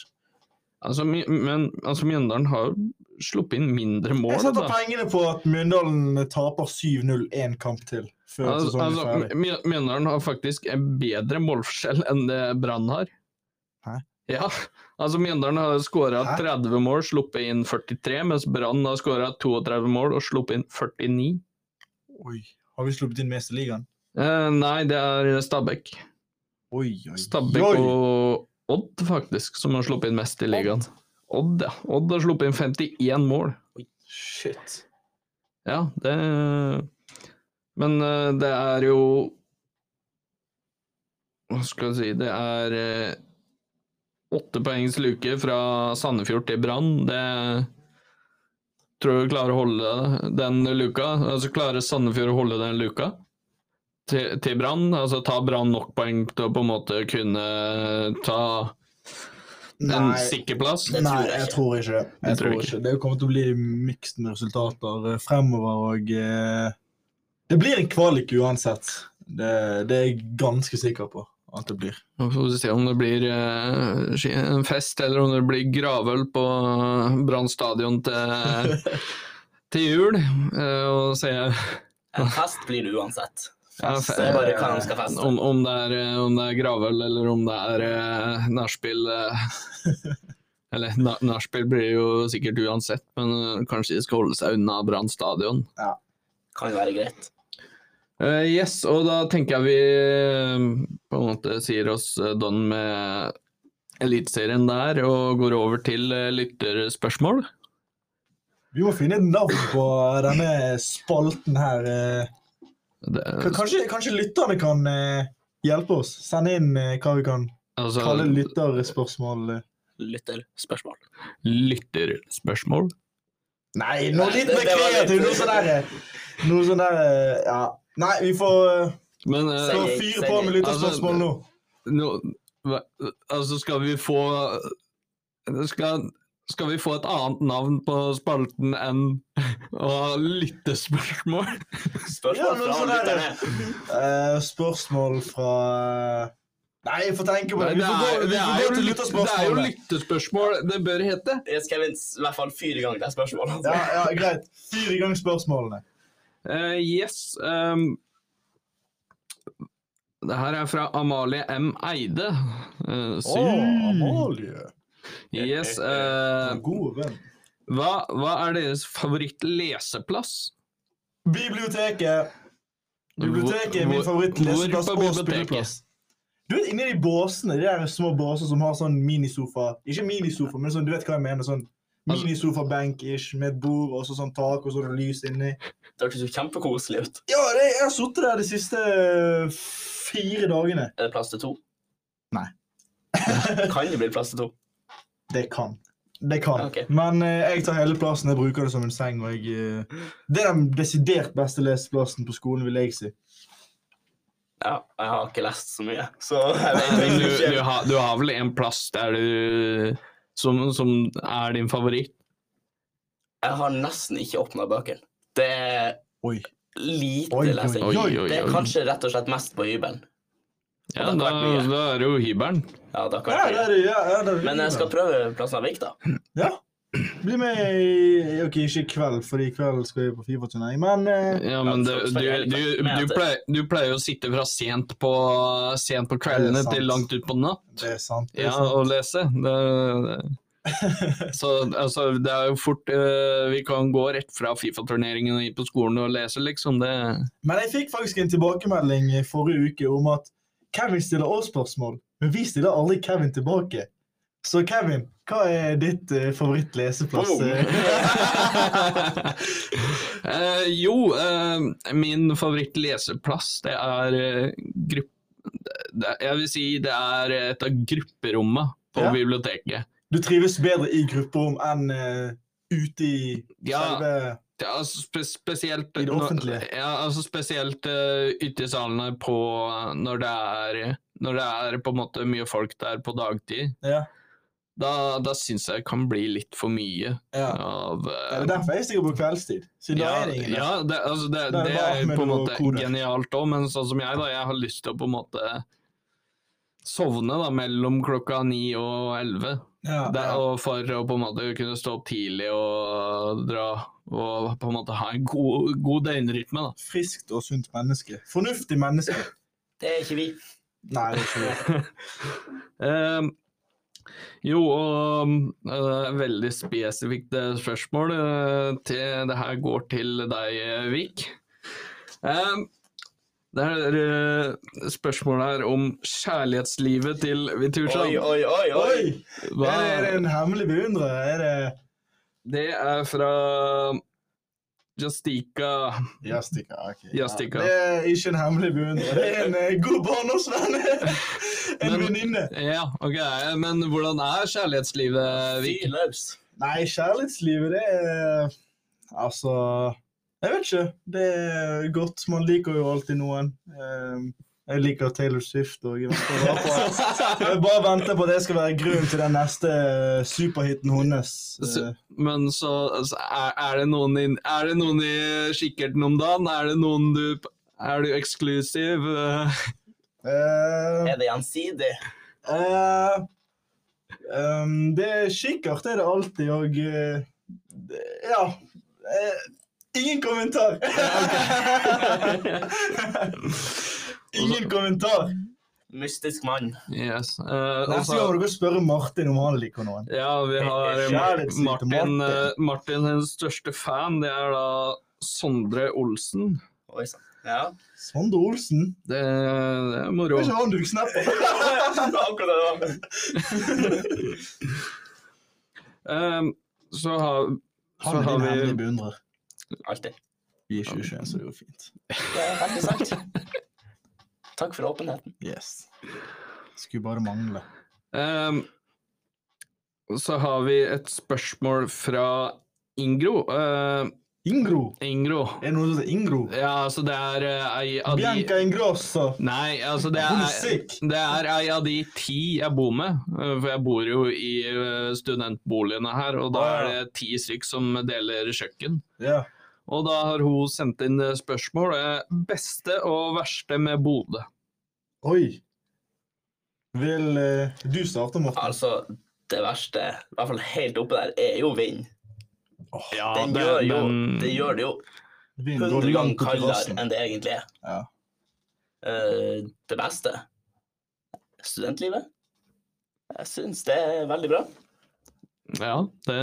Speaker 2: Altså, Mj- men altså, Mjøndalen har jo sluppet inn mindre mål.
Speaker 3: Jeg setter
Speaker 2: da.
Speaker 3: pengene på at Mjøndalen eh, taper 7-0 én kamp til før
Speaker 2: Altså,
Speaker 3: sesongen er
Speaker 2: altså,
Speaker 3: ferdig.
Speaker 2: Mjø- Mjøndalen har faktisk en bedre målforskjell enn det Brann har.
Speaker 3: Hæ?
Speaker 2: Ja, altså Mjøndalen har skåra
Speaker 3: Hæ?
Speaker 2: 30 mål, sluppet inn 43, mens Brann har skåra 32 mål og sluppet inn 49.
Speaker 3: Oi. Har vi sluppet inn mest i ligaen?
Speaker 2: Eh, nei, det er Stabæk.
Speaker 3: Oi, oi,
Speaker 2: Stabæk og Odd, faktisk, som har sluppet inn mest i ligaen. Odd, ja. Odd har sluppet inn 51 mål.
Speaker 3: Shit.
Speaker 2: Ja, det Men eh, det er jo Hva skal jeg si Det er eh, åtte poengs luke fra Sandefjord til Brann. Det tror jeg klarer å holde den luka. Altså klarer Sandefjord å holde den luka, til, til Brann? Altså ta Brann nok poeng til å på en måte kunne ta en sikker plass?
Speaker 4: Det
Speaker 3: Nei,
Speaker 4: tror
Speaker 3: jeg tror
Speaker 4: jeg ikke.
Speaker 3: ikke det. Jeg
Speaker 2: Det tror jeg
Speaker 3: tror ikke. Det kommer til å bli mixed med resultater eh, fremover, og eh, det blir en kvalik uansett. Det, det er jeg ganske sikker på at det blir.
Speaker 2: Nå får vi se om det blir eh, ski- en fest, eller om det blir gravøl på eh, Brann stadion
Speaker 4: <laughs>
Speaker 2: til, til jul. eh, og se
Speaker 4: En fest blir det uansett.
Speaker 2: Ja,
Speaker 3: Fest,
Speaker 2: fe-
Speaker 4: Det er bare hva de skal feste.
Speaker 2: om, om, det er, eh, om det er gravøl, eller om det er eh, nachspiel
Speaker 4: <laughs>
Speaker 2: eh. Eller na- nachspiel blir det jo sikkert uansett, men eh, kanskje de skal holde seg unna Brann stadion.
Speaker 4: Kan jo være greit.
Speaker 2: Eh, yes, og da tenker jeg vi eh, på en måte sier oss eh, done med Eliteserien der, og går over til eh, lytterspørsmål.
Speaker 3: Vi må finne et navn på denne spalten her. eh.
Speaker 2: Det,
Speaker 3: K- Kanskje, kanskje lytterne kan eh, hjelpe oss? Sende inn eh, hva vi kan
Speaker 2: altså
Speaker 3: kalle lytterspørsmål. eh.
Speaker 4: Lytterspørsmål.
Speaker 2: lytterspørsmål.
Speaker 3: Nei, noe litt
Speaker 4: Det-
Speaker 3: mer
Speaker 4: det var litt-
Speaker 3: kreativt! Noe sånn der, eh, noe sånn der eh, Ja. Nei, vi får eh,
Speaker 2: Men eh,
Speaker 3: slå
Speaker 4: Send inn,
Speaker 3: fyr
Speaker 4: send
Speaker 3: på
Speaker 4: inn.
Speaker 3: med
Speaker 2: Altså,
Speaker 3: lytterspørsmål nå.
Speaker 2: nå- hva- altså skal vi få skal, skal vi få et annet navn på spalten enn å ha lyttespørsmål?
Speaker 3: Ja,
Speaker 4: Spørsmål
Speaker 3: men
Speaker 4: fra
Speaker 3: sånn er det.
Speaker 4: lytterne.
Speaker 3: Eh, spørsmål fra eh, Nei, jeg får tenke på det.
Speaker 2: Nei,
Speaker 3: Vi
Speaker 2: det,
Speaker 3: får
Speaker 2: er,
Speaker 3: gå, vi
Speaker 2: det, er
Speaker 3: får gå
Speaker 2: jo,
Speaker 3: til
Speaker 2: lyt- det er jo
Speaker 3: lytterspørsmålet.
Speaker 2: lyttespørsmål det bør hete.
Speaker 4: Jeg skal vinne i hvert fall fire ganger det spørsmålet.
Speaker 3: Ja, ja, greit. Fyr i gang spørsmålene.
Speaker 2: Eh, yes. ehm, det her er fra Amalie M. Eide. Eh, sy-
Speaker 3: Amalie.
Speaker 2: yes. eh,
Speaker 3: God venn.
Speaker 2: hva, hva er deres favorittleseplass?
Speaker 3: Biblioteket. Biblioteket er min
Speaker 2: Hvor-
Speaker 3: favorittleseplass
Speaker 2: hvor på
Speaker 3: og
Speaker 2: biblioteket?
Speaker 3: spilleplass. Du vet, Inni de båsene, de der små båser som har sånn minisofa Ikke minisofa, men sånn, du vet hva jeg mener. sånn
Speaker 2: Altså-
Speaker 3: Minisofa-benk-ish med et bord og så sånn tak og sånn lys inni.
Speaker 4: Det hørtes jo kjempekoselig ut.
Speaker 3: Ja, det, jeg har sittet der de siste eh, fire dagene.
Speaker 4: Er det plass til to?
Speaker 3: Nei.
Speaker 4: <laughs> kan det bli plass til to?
Speaker 3: Det kan. Det kan.
Speaker 4: Ok.
Speaker 3: Men eh, jeg tar hele plassen. Jeg bruker det som en seng. Og jeg, eh, det er den desidert beste leseplassen på skolen, vil jeg si.
Speaker 4: Ja, jeg har ikke lest så mye, så jeg vet
Speaker 2: Eh, Men
Speaker 4: egentlig
Speaker 2: du, du,
Speaker 4: ikke.
Speaker 2: har, du har vel en plass der du som, som er din favoritt?
Speaker 4: Jeg har nesten ikke åpna bøkene. Det er
Speaker 3: Oi. Oi,
Speaker 4: lite
Speaker 3: oi,
Speaker 4: lesing.
Speaker 2: Oi, oi,
Speaker 4: Det er
Speaker 2: oi.
Speaker 4: kanskje rett og slett mest på hybelen.
Speaker 2: Ja,
Speaker 4: det
Speaker 2: da,
Speaker 4: har vært mye.
Speaker 2: da er det jo hybelen.
Speaker 4: Ja, da kan
Speaker 3: Ja,
Speaker 4: jeg
Speaker 3: det
Speaker 4: ikke.
Speaker 3: er det. Ja, ja, det er det.
Speaker 4: Men jeg skal prøve plassen av Vik, da.
Speaker 3: Ja. Bli med i Ok, ikke i kveld, fordi i kveld skal jeg på Fifa-turnering, men eh,
Speaker 2: Ja, men det, du, du, du, pleier, du pleier jo å sitte fra sent på, sent på
Speaker 3: Det
Speaker 2: kveldene
Speaker 3: er sant.
Speaker 2: til langt utpå natt
Speaker 3: det er sant. Det er
Speaker 2: ja,
Speaker 3: sant.
Speaker 2: og lese. Det, det. Så altså, det er jo fort eh, Vi kan gå rett fra Fifa-turneringen og inn på skolen og lese, liksom. Det,
Speaker 3: <laughs> Men jeg fikk faktisk en tilbakemelding i forrige uke om at Kevin stiller oss spørsmål, men vi stiller aldri Kevin tilbake. Så Kevin, hva er ditt eh, favorittleseplass? eh?
Speaker 4: Boom.
Speaker 2: Eh, jo, eh, min favorittleseplass, det er eh, grupp... Det, jeg vil si det er et av grupperommene på
Speaker 3: Ja.
Speaker 2: biblioteket.
Speaker 3: Du trives bedre i grupperom enn eh, ute i
Speaker 2: Ja,
Speaker 3: selve
Speaker 2: Ja, altså spe spesielt
Speaker 3: I det
Speaker 2: når-
Speaker 3: offentlige.
Speaker 2: Ja, altså spesielt eh, ute i salene på når det er Når det er på en måte mye folk der på dagtid.
Speaker 3: Ja.
Speaker 2: Da, da syns jeg det kan bli litt for mye
Speaker 3: ja.
Speaker 2: av
Speaker 3: Det
Speaker 2: eh,
Speaker 3: er derfor jeg stikker på kveldstid. Siden da
Speaker 2: ja,
Speaker 3: er det ingen der.
Speaker 2: ja, det, altså det,
Speaker 3: Da er det
Speaker 2: det
Speaker 3: bare
Speaker 2: er
Speaker 3: Ahmed
Speaker 2: på en
Speaker 3: og
Speaker 2: måte
Speaker 3: Kodet.
Speaker 2: genialt òg, men sånn som jeg, da. Jeg har lyst til å på en måte sovne da mellom klokka ni og elleve.
Speaker 3: Ja,
Speaker 2: Det,
Speaker 3: ja.
Speaker 2: og for å på en måte kunne stå opp tidlig og dra og på en måte ha en god, god døgnrytme, da.
Speaker 3: Friskt og sunt menneske. Fornuftig menneske.
Speaker 4: Det er ikke vi.
Speaker 3: Nei, det er ikke det.
Speaker 2: <laughs> Ehm, jo, og eh, veldig spesifikt eh, spørsmål. eh, til, det her går til deg, eh, Vik. Ehm, det er eh, spørsmål her om kjærlighetslivet til
Speaker 4: Oi,
Speaker 2: Vitursan.
Speaker 4: oi, oi, oi!
Speaker 3: Oi! Er det, er det en hemmelig beundrer? Er det
Speaker 2: Det er fra Justika.
Speaker 3: Jastika. Ah, ok.
Speaker 2: Jastika.
Speaker 3: Ja, det er ikke en hemmelig beundrer. Det er en eh, god barndomsvenn! <laughs> en
Speaker 2: Men-
Speaker 3: venninne.
Speaker 2: Ja, ok. eh, Men hvordan er kjærlighetslivet, Vik?
Speaker 4: Fyr løs.
Speaker 3: Nei, kjærlighetslivet, det er Altså Jeg vet ikke. Det er godt. Man liker jo alltid noen. Ehm, Jeg liker Taylor Swift og jeg venter bare på- jeg bare venter på at det skal være grunnen til den neste eh, superhiten hennes.
Speaker 2: Så-
Speaker 3: Eh,
Speaker 2: Men så altså, er, er, det noen i, er det noen i kikkerten om dagen? Er det noen du Er du eksklusiv? <laughs> Eh,
Speaker 3: eh,
Speaker 4: Er det gjensidig?
Speaker 3: eh, ehm, Det er kikkert, det er det alltid, og eh, det- Ja. eh, Ingen kommentar! <laughs> Ingen kommentar!
Speaker 4: Mystisk mann.
Speaker 2: Yes. Eh,
Speaker 3: Neste gang må
Speaker 2: altså,
Speaker 3: du gå og spørre Martin om han liker noen.
Speaker 2: ja, vi har
Speaker 4: Det er
Speaker 2: Mar-
Speaker 3: kjærlighetssyke
Speaker 2: Martin,
Speaker 3: Martin.
Speaker 2: eh, Martin sin største fan. Det er da Sondre Olsen.
Speaker 4: Oi sann. Ja.
Speaker 3: Sondre Olsen.
Speaker 2: Det, det er moro.
Speaker 3: Det er ikke han du snapper.
Speaker 4: Akkurat det var.
Speaker 2: Ehm, så har, så
Speaker 3: Han er
Speaker 2: har
Speaker 3: din hemmelige
Speaker 2: vi
Speaker 3: beundrer.
Speaker 4: Alltid.
Speaker 3: Vi er 2021, så det går fint.
Speaker 4: Det er veldig sant. Takk for åpenheten.
Speaker 3: Yes. Skulle bare mangle.
Speaker 2: ehm, Så har vi et spørsmål fra Ingro. Eh,
Speaker 3: Ingro!
Speaker 2: Ingro.
Speaker 3: Er det noen som heter Ingro?
Speaker 2: Ja, altså det er eh, ei av de
Speaker 3: Bianca Ingrosso!
Speaker 2: Nei, altså det er,
Speaker 3: Homesick!
Speaker 2: det er ei av de ti jeg bor med. eh, For jeg bor jo i eh, studentboligene her, og da
Speaker 3: Ah,
Speaker 2: er
Speaker 3: ja.
Speaker 2: det ti stykk som deler kjøkken.
Speaker 3: Ja.
Speaker 2: Og da har hun sendt inn eh, spørsmål. eh, Beste og verste med Bodø?
Speaker 3: Oi. Vil eh, du starte, Morten?
Speaker 4: Altså, det verste, i hvert fall helt oppe der, er jo vind.
Speaker 2: Ja,
Speaker 4: Den gjør jo, det gjør det jo
Speaker 3: Vind går
Speaker 4: 100 ganger
Speaker 3: langt på
Speaker 4: kaldere
Speaker 3: terrassen.
Speaker 4: enn det egentlig er.
Speaker 3: Ja.
Speaker 4: Eh, det beste studentlivet. Jeg syns det er veldig bra.
Speaker 2: Ja, det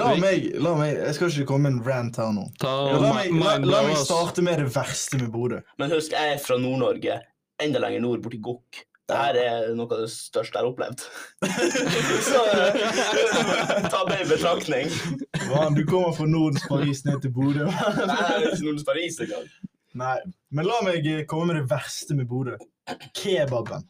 Speaker 3: La meg, la meg, jeg skal ikke komme med en rant her nå.
Speaker 2: Ta
Speaker 3: La meg, la, la meg starte med det verste med Bodø.
Speaker 4: Men husk, jeg er fra Nord-Norge, enda lenger nord, borti Gokk. Dette er noe av det største jeg har opplevd. <laughs> Så eh, ta det i betraktning.
Speaker 3: Man, du kommer fra Nordens Paris ned til Bodø. <laughs>
Speaker 4: Nei, det er ikke Nordens Paris engang.
Speaker 3: Nei, men la meg eh, komme med det verste med Bodø. Kebaben.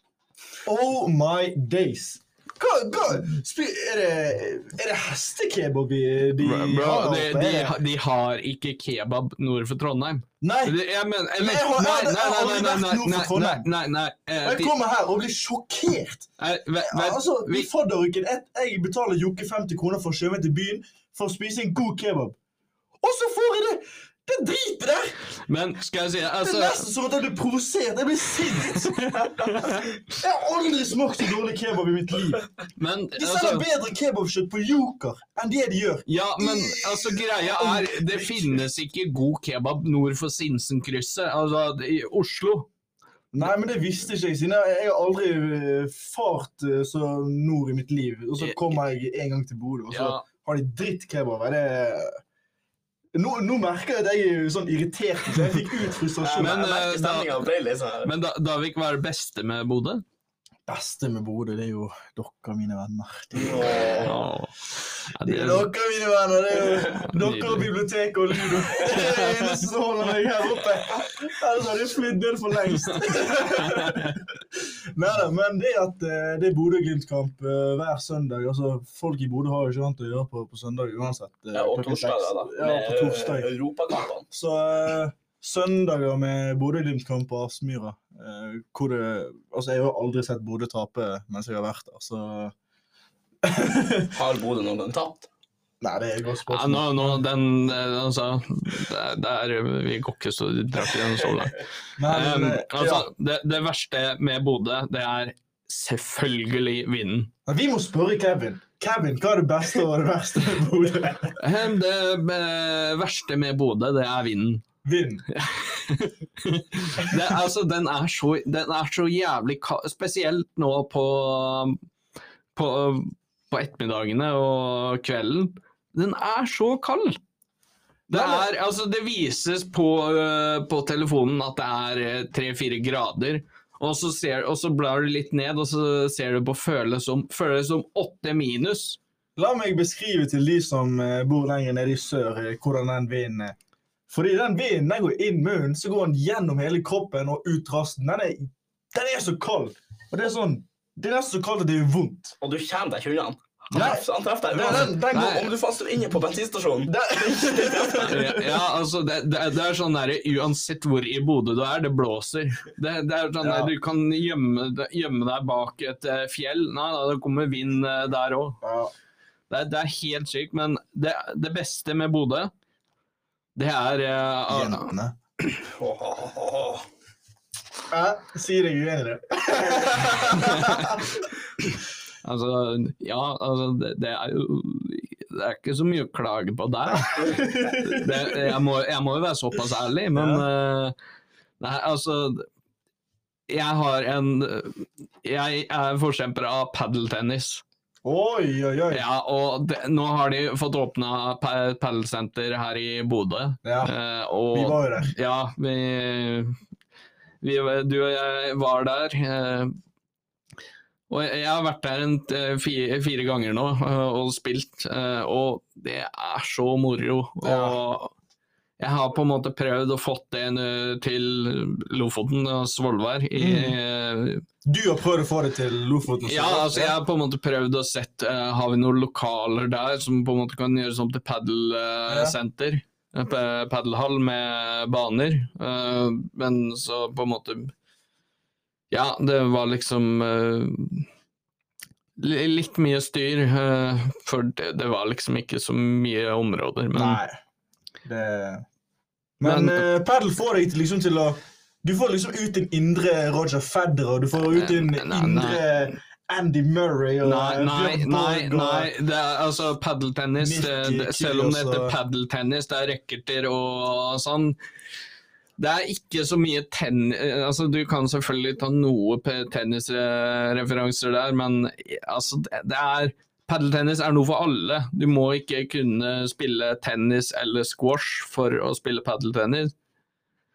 Speaker 3: Oh my days! Hva, hva? Spi, er, det, er det hestekebab i- de
Speaker 2: Bro,
Speaker 3: har
Speaker 2: de,
Speaker 3: der oppe?
Speaker 2: de,
Speaker 3: Er det-
Speaker 2: de har ikke kebab nord for Trondheim.
Speaker 3: Nei!
Speaker 2: Det- Jeg mener eller, nei,
Speaker 3: Men jeg har-
Speaker 2: nei,
Speaker 3: jeg har- jeg har
Speaker 2: nei,
Speaker 3: aldri
Speaker 2: nei,
Speaker 3: vært
Speaker 2: nei,
Speaker 3: nord for
Speaker 2: nei, nei,
Speaker 3: Trondheim.
Speaker 2: nei, nei, eh,
Speaker 3: Jeg
Speaker 2: de-
Speaker 3: kommer her og blir sjokkert.
Speaker 2: eh, vent, vent,
Speaker 3: Altså, I
Speaker 2: vi-
Speaker 3: fadderuken jeg, jeg betaler Jokke 50 kroner for å kjøre meg til byen for å spise en god kebab. Og så får jeg det! Det dritet der!
Speaker 2: Men skal jeg si
Speaker 3: Det
Speaker 2: altså,
Speaker 3: er nesten som at jeg blir provosert. Jeg blir
Speaker 2: <laughs>
Speaker 3: sint. Jeg har aldri smakt så dårlig kebab i mitt liv.
Speaker 2: Men
Speaker 3: De selger
Speaker 2: altså
Speaker 3: bedre kebabkjøtt på Joker enn det de gjør.
Speaker 2: ja, men altså, greia er Det finnes ikke god kebab nord for Sinsenkrysset. Altså, i Oslo.
Speaker 3: Nei, men det visste ikke jeg, siden jeg jeg har aldri eh, fart eh, så nord i mitt liv. Og så kommer jeg en gang til Bodø, og så
Speaker 2: Ja,
Speaker 3: har de drittkebab. Er Det... Nå, nå merker jeg at jeg er sånn irritert. så Jeg fikk ut
Speaker 4: Jeg
Speaker 3: frustrasjon.
Speaker 2: Men, eh,
Speaker 4: merker
Speaker 2: da-
Speaker 4: stemninga ble litt sånn
Speaker 2: men da, da vil ikke være det beste med Bodø?
Speaker 3: Det beste med Bodø, det er jo dere, mine venner. Det er jo...
Speaker 4: Åh.
Speaker 2: Åh. Ja,
Speaker 3: Det
Speaker 2: det-
Speaker 3: er dere, mine venner. Det er jo dere
Speaker 2: Nydelig.
Speaker 3: og biblioteket og Ludo. Det er det eneste som holder meg her oppe. Ellers hadde jeg flydd ned for <laughs> lengst. Neida, men det at eh, det er Bodø-Glimt-kamp eh, hver søndag altså Folk i Bodø har jo ikke annet å gjøre på, på søndag uansett. eh,
Speaker 4: Ja, og
Speaker 3: klokken seks.
Speaker 4: torsdager, da.
Speaker 3: Ja, på torsdag.
Speaker 4: Med eh, europakampene.
Speaker 3: Så eh, søndager med Bodø-Glimt-kamp på Aspmyra eh, hvor det, Altså, jeg har jo aldri sett Bodø tape mens jeg har vært der, så
Speaker 4: Har Bodø noen gang tapt?
Speaker 3: Nei, det er et godt
Speaker 2: Ja,
Speaker 3: spørsmål.
Speaker 2: nå, nå, den, eh, altså, der, der, vi går ikke så, drar ikke den så langt.
Speaker 3: <laughs> Nei,
Speaker 2: Um,
Speaker 3: men, eh,
Speaker 2: altså, det, det verste med Bodø, det er selvfølgelig vinden.
Speaker 3: Men Vi må spørre Kevin. Kevin, hva er det beste og det verste med Bodø? <laughs>
Speaker 2: Ehm, Det eh, verste med Bodø, det er vinden.
Speaker 3: Vind.
Speaker 2: Det, er- altså, den, er så, den er så jævlig kald, spesielt nå på, på, på ettermiddagene og kvelden. Den er så kald! Det,
Speaker 3: Nei,
Speaker 2: er, altså, det vises på, øh, på telefonen at det er øh, tre-fire grader, og så, ser, og så blar du litt ned, og så ser du på føles som, føles som åtte minus.
Speaker 3: La meg beskrive til de som eh, bor lenger nede i sør, eh, hvordan den vinden er. Fordi den vinden den går inn munnen, så går den gjennom hele kroppen og ut rasten. Den er, den er så kald. Og det er sånn Det er nesten så kaldt at det gjør vondt.
Speaker 4: Og du kommer deg ikke unna. Han traff han traff deg.
Speaker 3: Nei,
Speaker 4: Den,
Speaker 3: den- den
Speaker 2: går-
Speaker 4: om du faster inne på bensinstasjonen
Speaker 2: Ja, altså, det, det, det er sånn der, uansett hvor i Bodø du er, det blåser. Det, det er sånn
Speaker 3: Ja.
Speaker 2: der, Du kan gjemme, deg- gjemme deg bak et eh, fjell. Nei, da, det kommer vind eh, der òg.
Speaker 3: Ja.
Speaker 2: Det, er- det er helt sykt. Men det, det beste med Bodø, det er eh,
Speaker 3: Jentene.
Speaker 4: Åh, åh, åh, åh.
Speaker 3: Hæ? Sier jeg uenig i det?
Speaker 2: Altså, ja, altså, det, det er jo Det er ikke så mye å klage på der. Det, jeg, må, jeg må jo være såpass ærlig, men eh, Nei, altså Jeg har en Jeg er forkjemper av padeltennis.
Speaker 3: Oi, oi, oi.
Speaker 2: Ja, og det, nå har de fått åpna pa- padelsenter her i Bodø.
Speaker 3: Ja,
Speaker 2: eh,
Speaker 3: vi
Speaker 2: og
Speaker 3: var jo der.
Speaker 2: ja, vi, vi Du og jeg var der. eh, og jeg har vært der en, eh, fire, fire ganger nå eh, og spilt, eh, og det er så moro.
Speaker 3: Ja.
Speaker 2: Og jeg har på en måte prøvd å fått det eh, til Lofoten og Svolvær. I, eh,
Speaker 3: Du har prøvd å få det til Lofoten? så
Speaker 2: ja,
Speaker 3: godt,
Speaker 2: altså jeg har på en måte prøvd å sett eh, Har vi noen lokaler der som på en måte kan gjøres om til
Speaker 3: Ja.
Speaker 2: padelsenter? Uh, Padelhall med baner. eh, men så på en måte Ja, det var liksom eh, li- Litt mye styr, eh, for det, det var liksom ikke så mye områder. Men
Speaker 3: Nei. Det... Men,
Speaker 2: Men-
Speaker 3: eh, padel får deg til, liksom til å Du får liksom ut din indre Roger Federer, du får ut din
Speaker 2: Nei, nei,
Speaker 3: indre Andy Murray og
Speaker 2: Nei,
Speaker 3: eh,
Speaker 2: nei,
Speaker 3: Bjørn
Speaker 2: nei,
Speaker 3: Borg og-
Speaker 2: nei. Det er, altså, padeltennis det,
Speaker 3: Mickey
Speaker 2: det, Selv om det
Speaker 3: Kyrgios
Speaker 2: heter
Speaker 3: og-
Speaker 2: padeltennis, det er racketer og sånn Det er ikke så mye tennis altså, Du kan selvfølgelig ta noe pe- tennisreferanser der, men eh, altså, det, det er Padeltennis er noe for alle. Du må ikke kunne spille tennis eller squash for å spille padeltennis.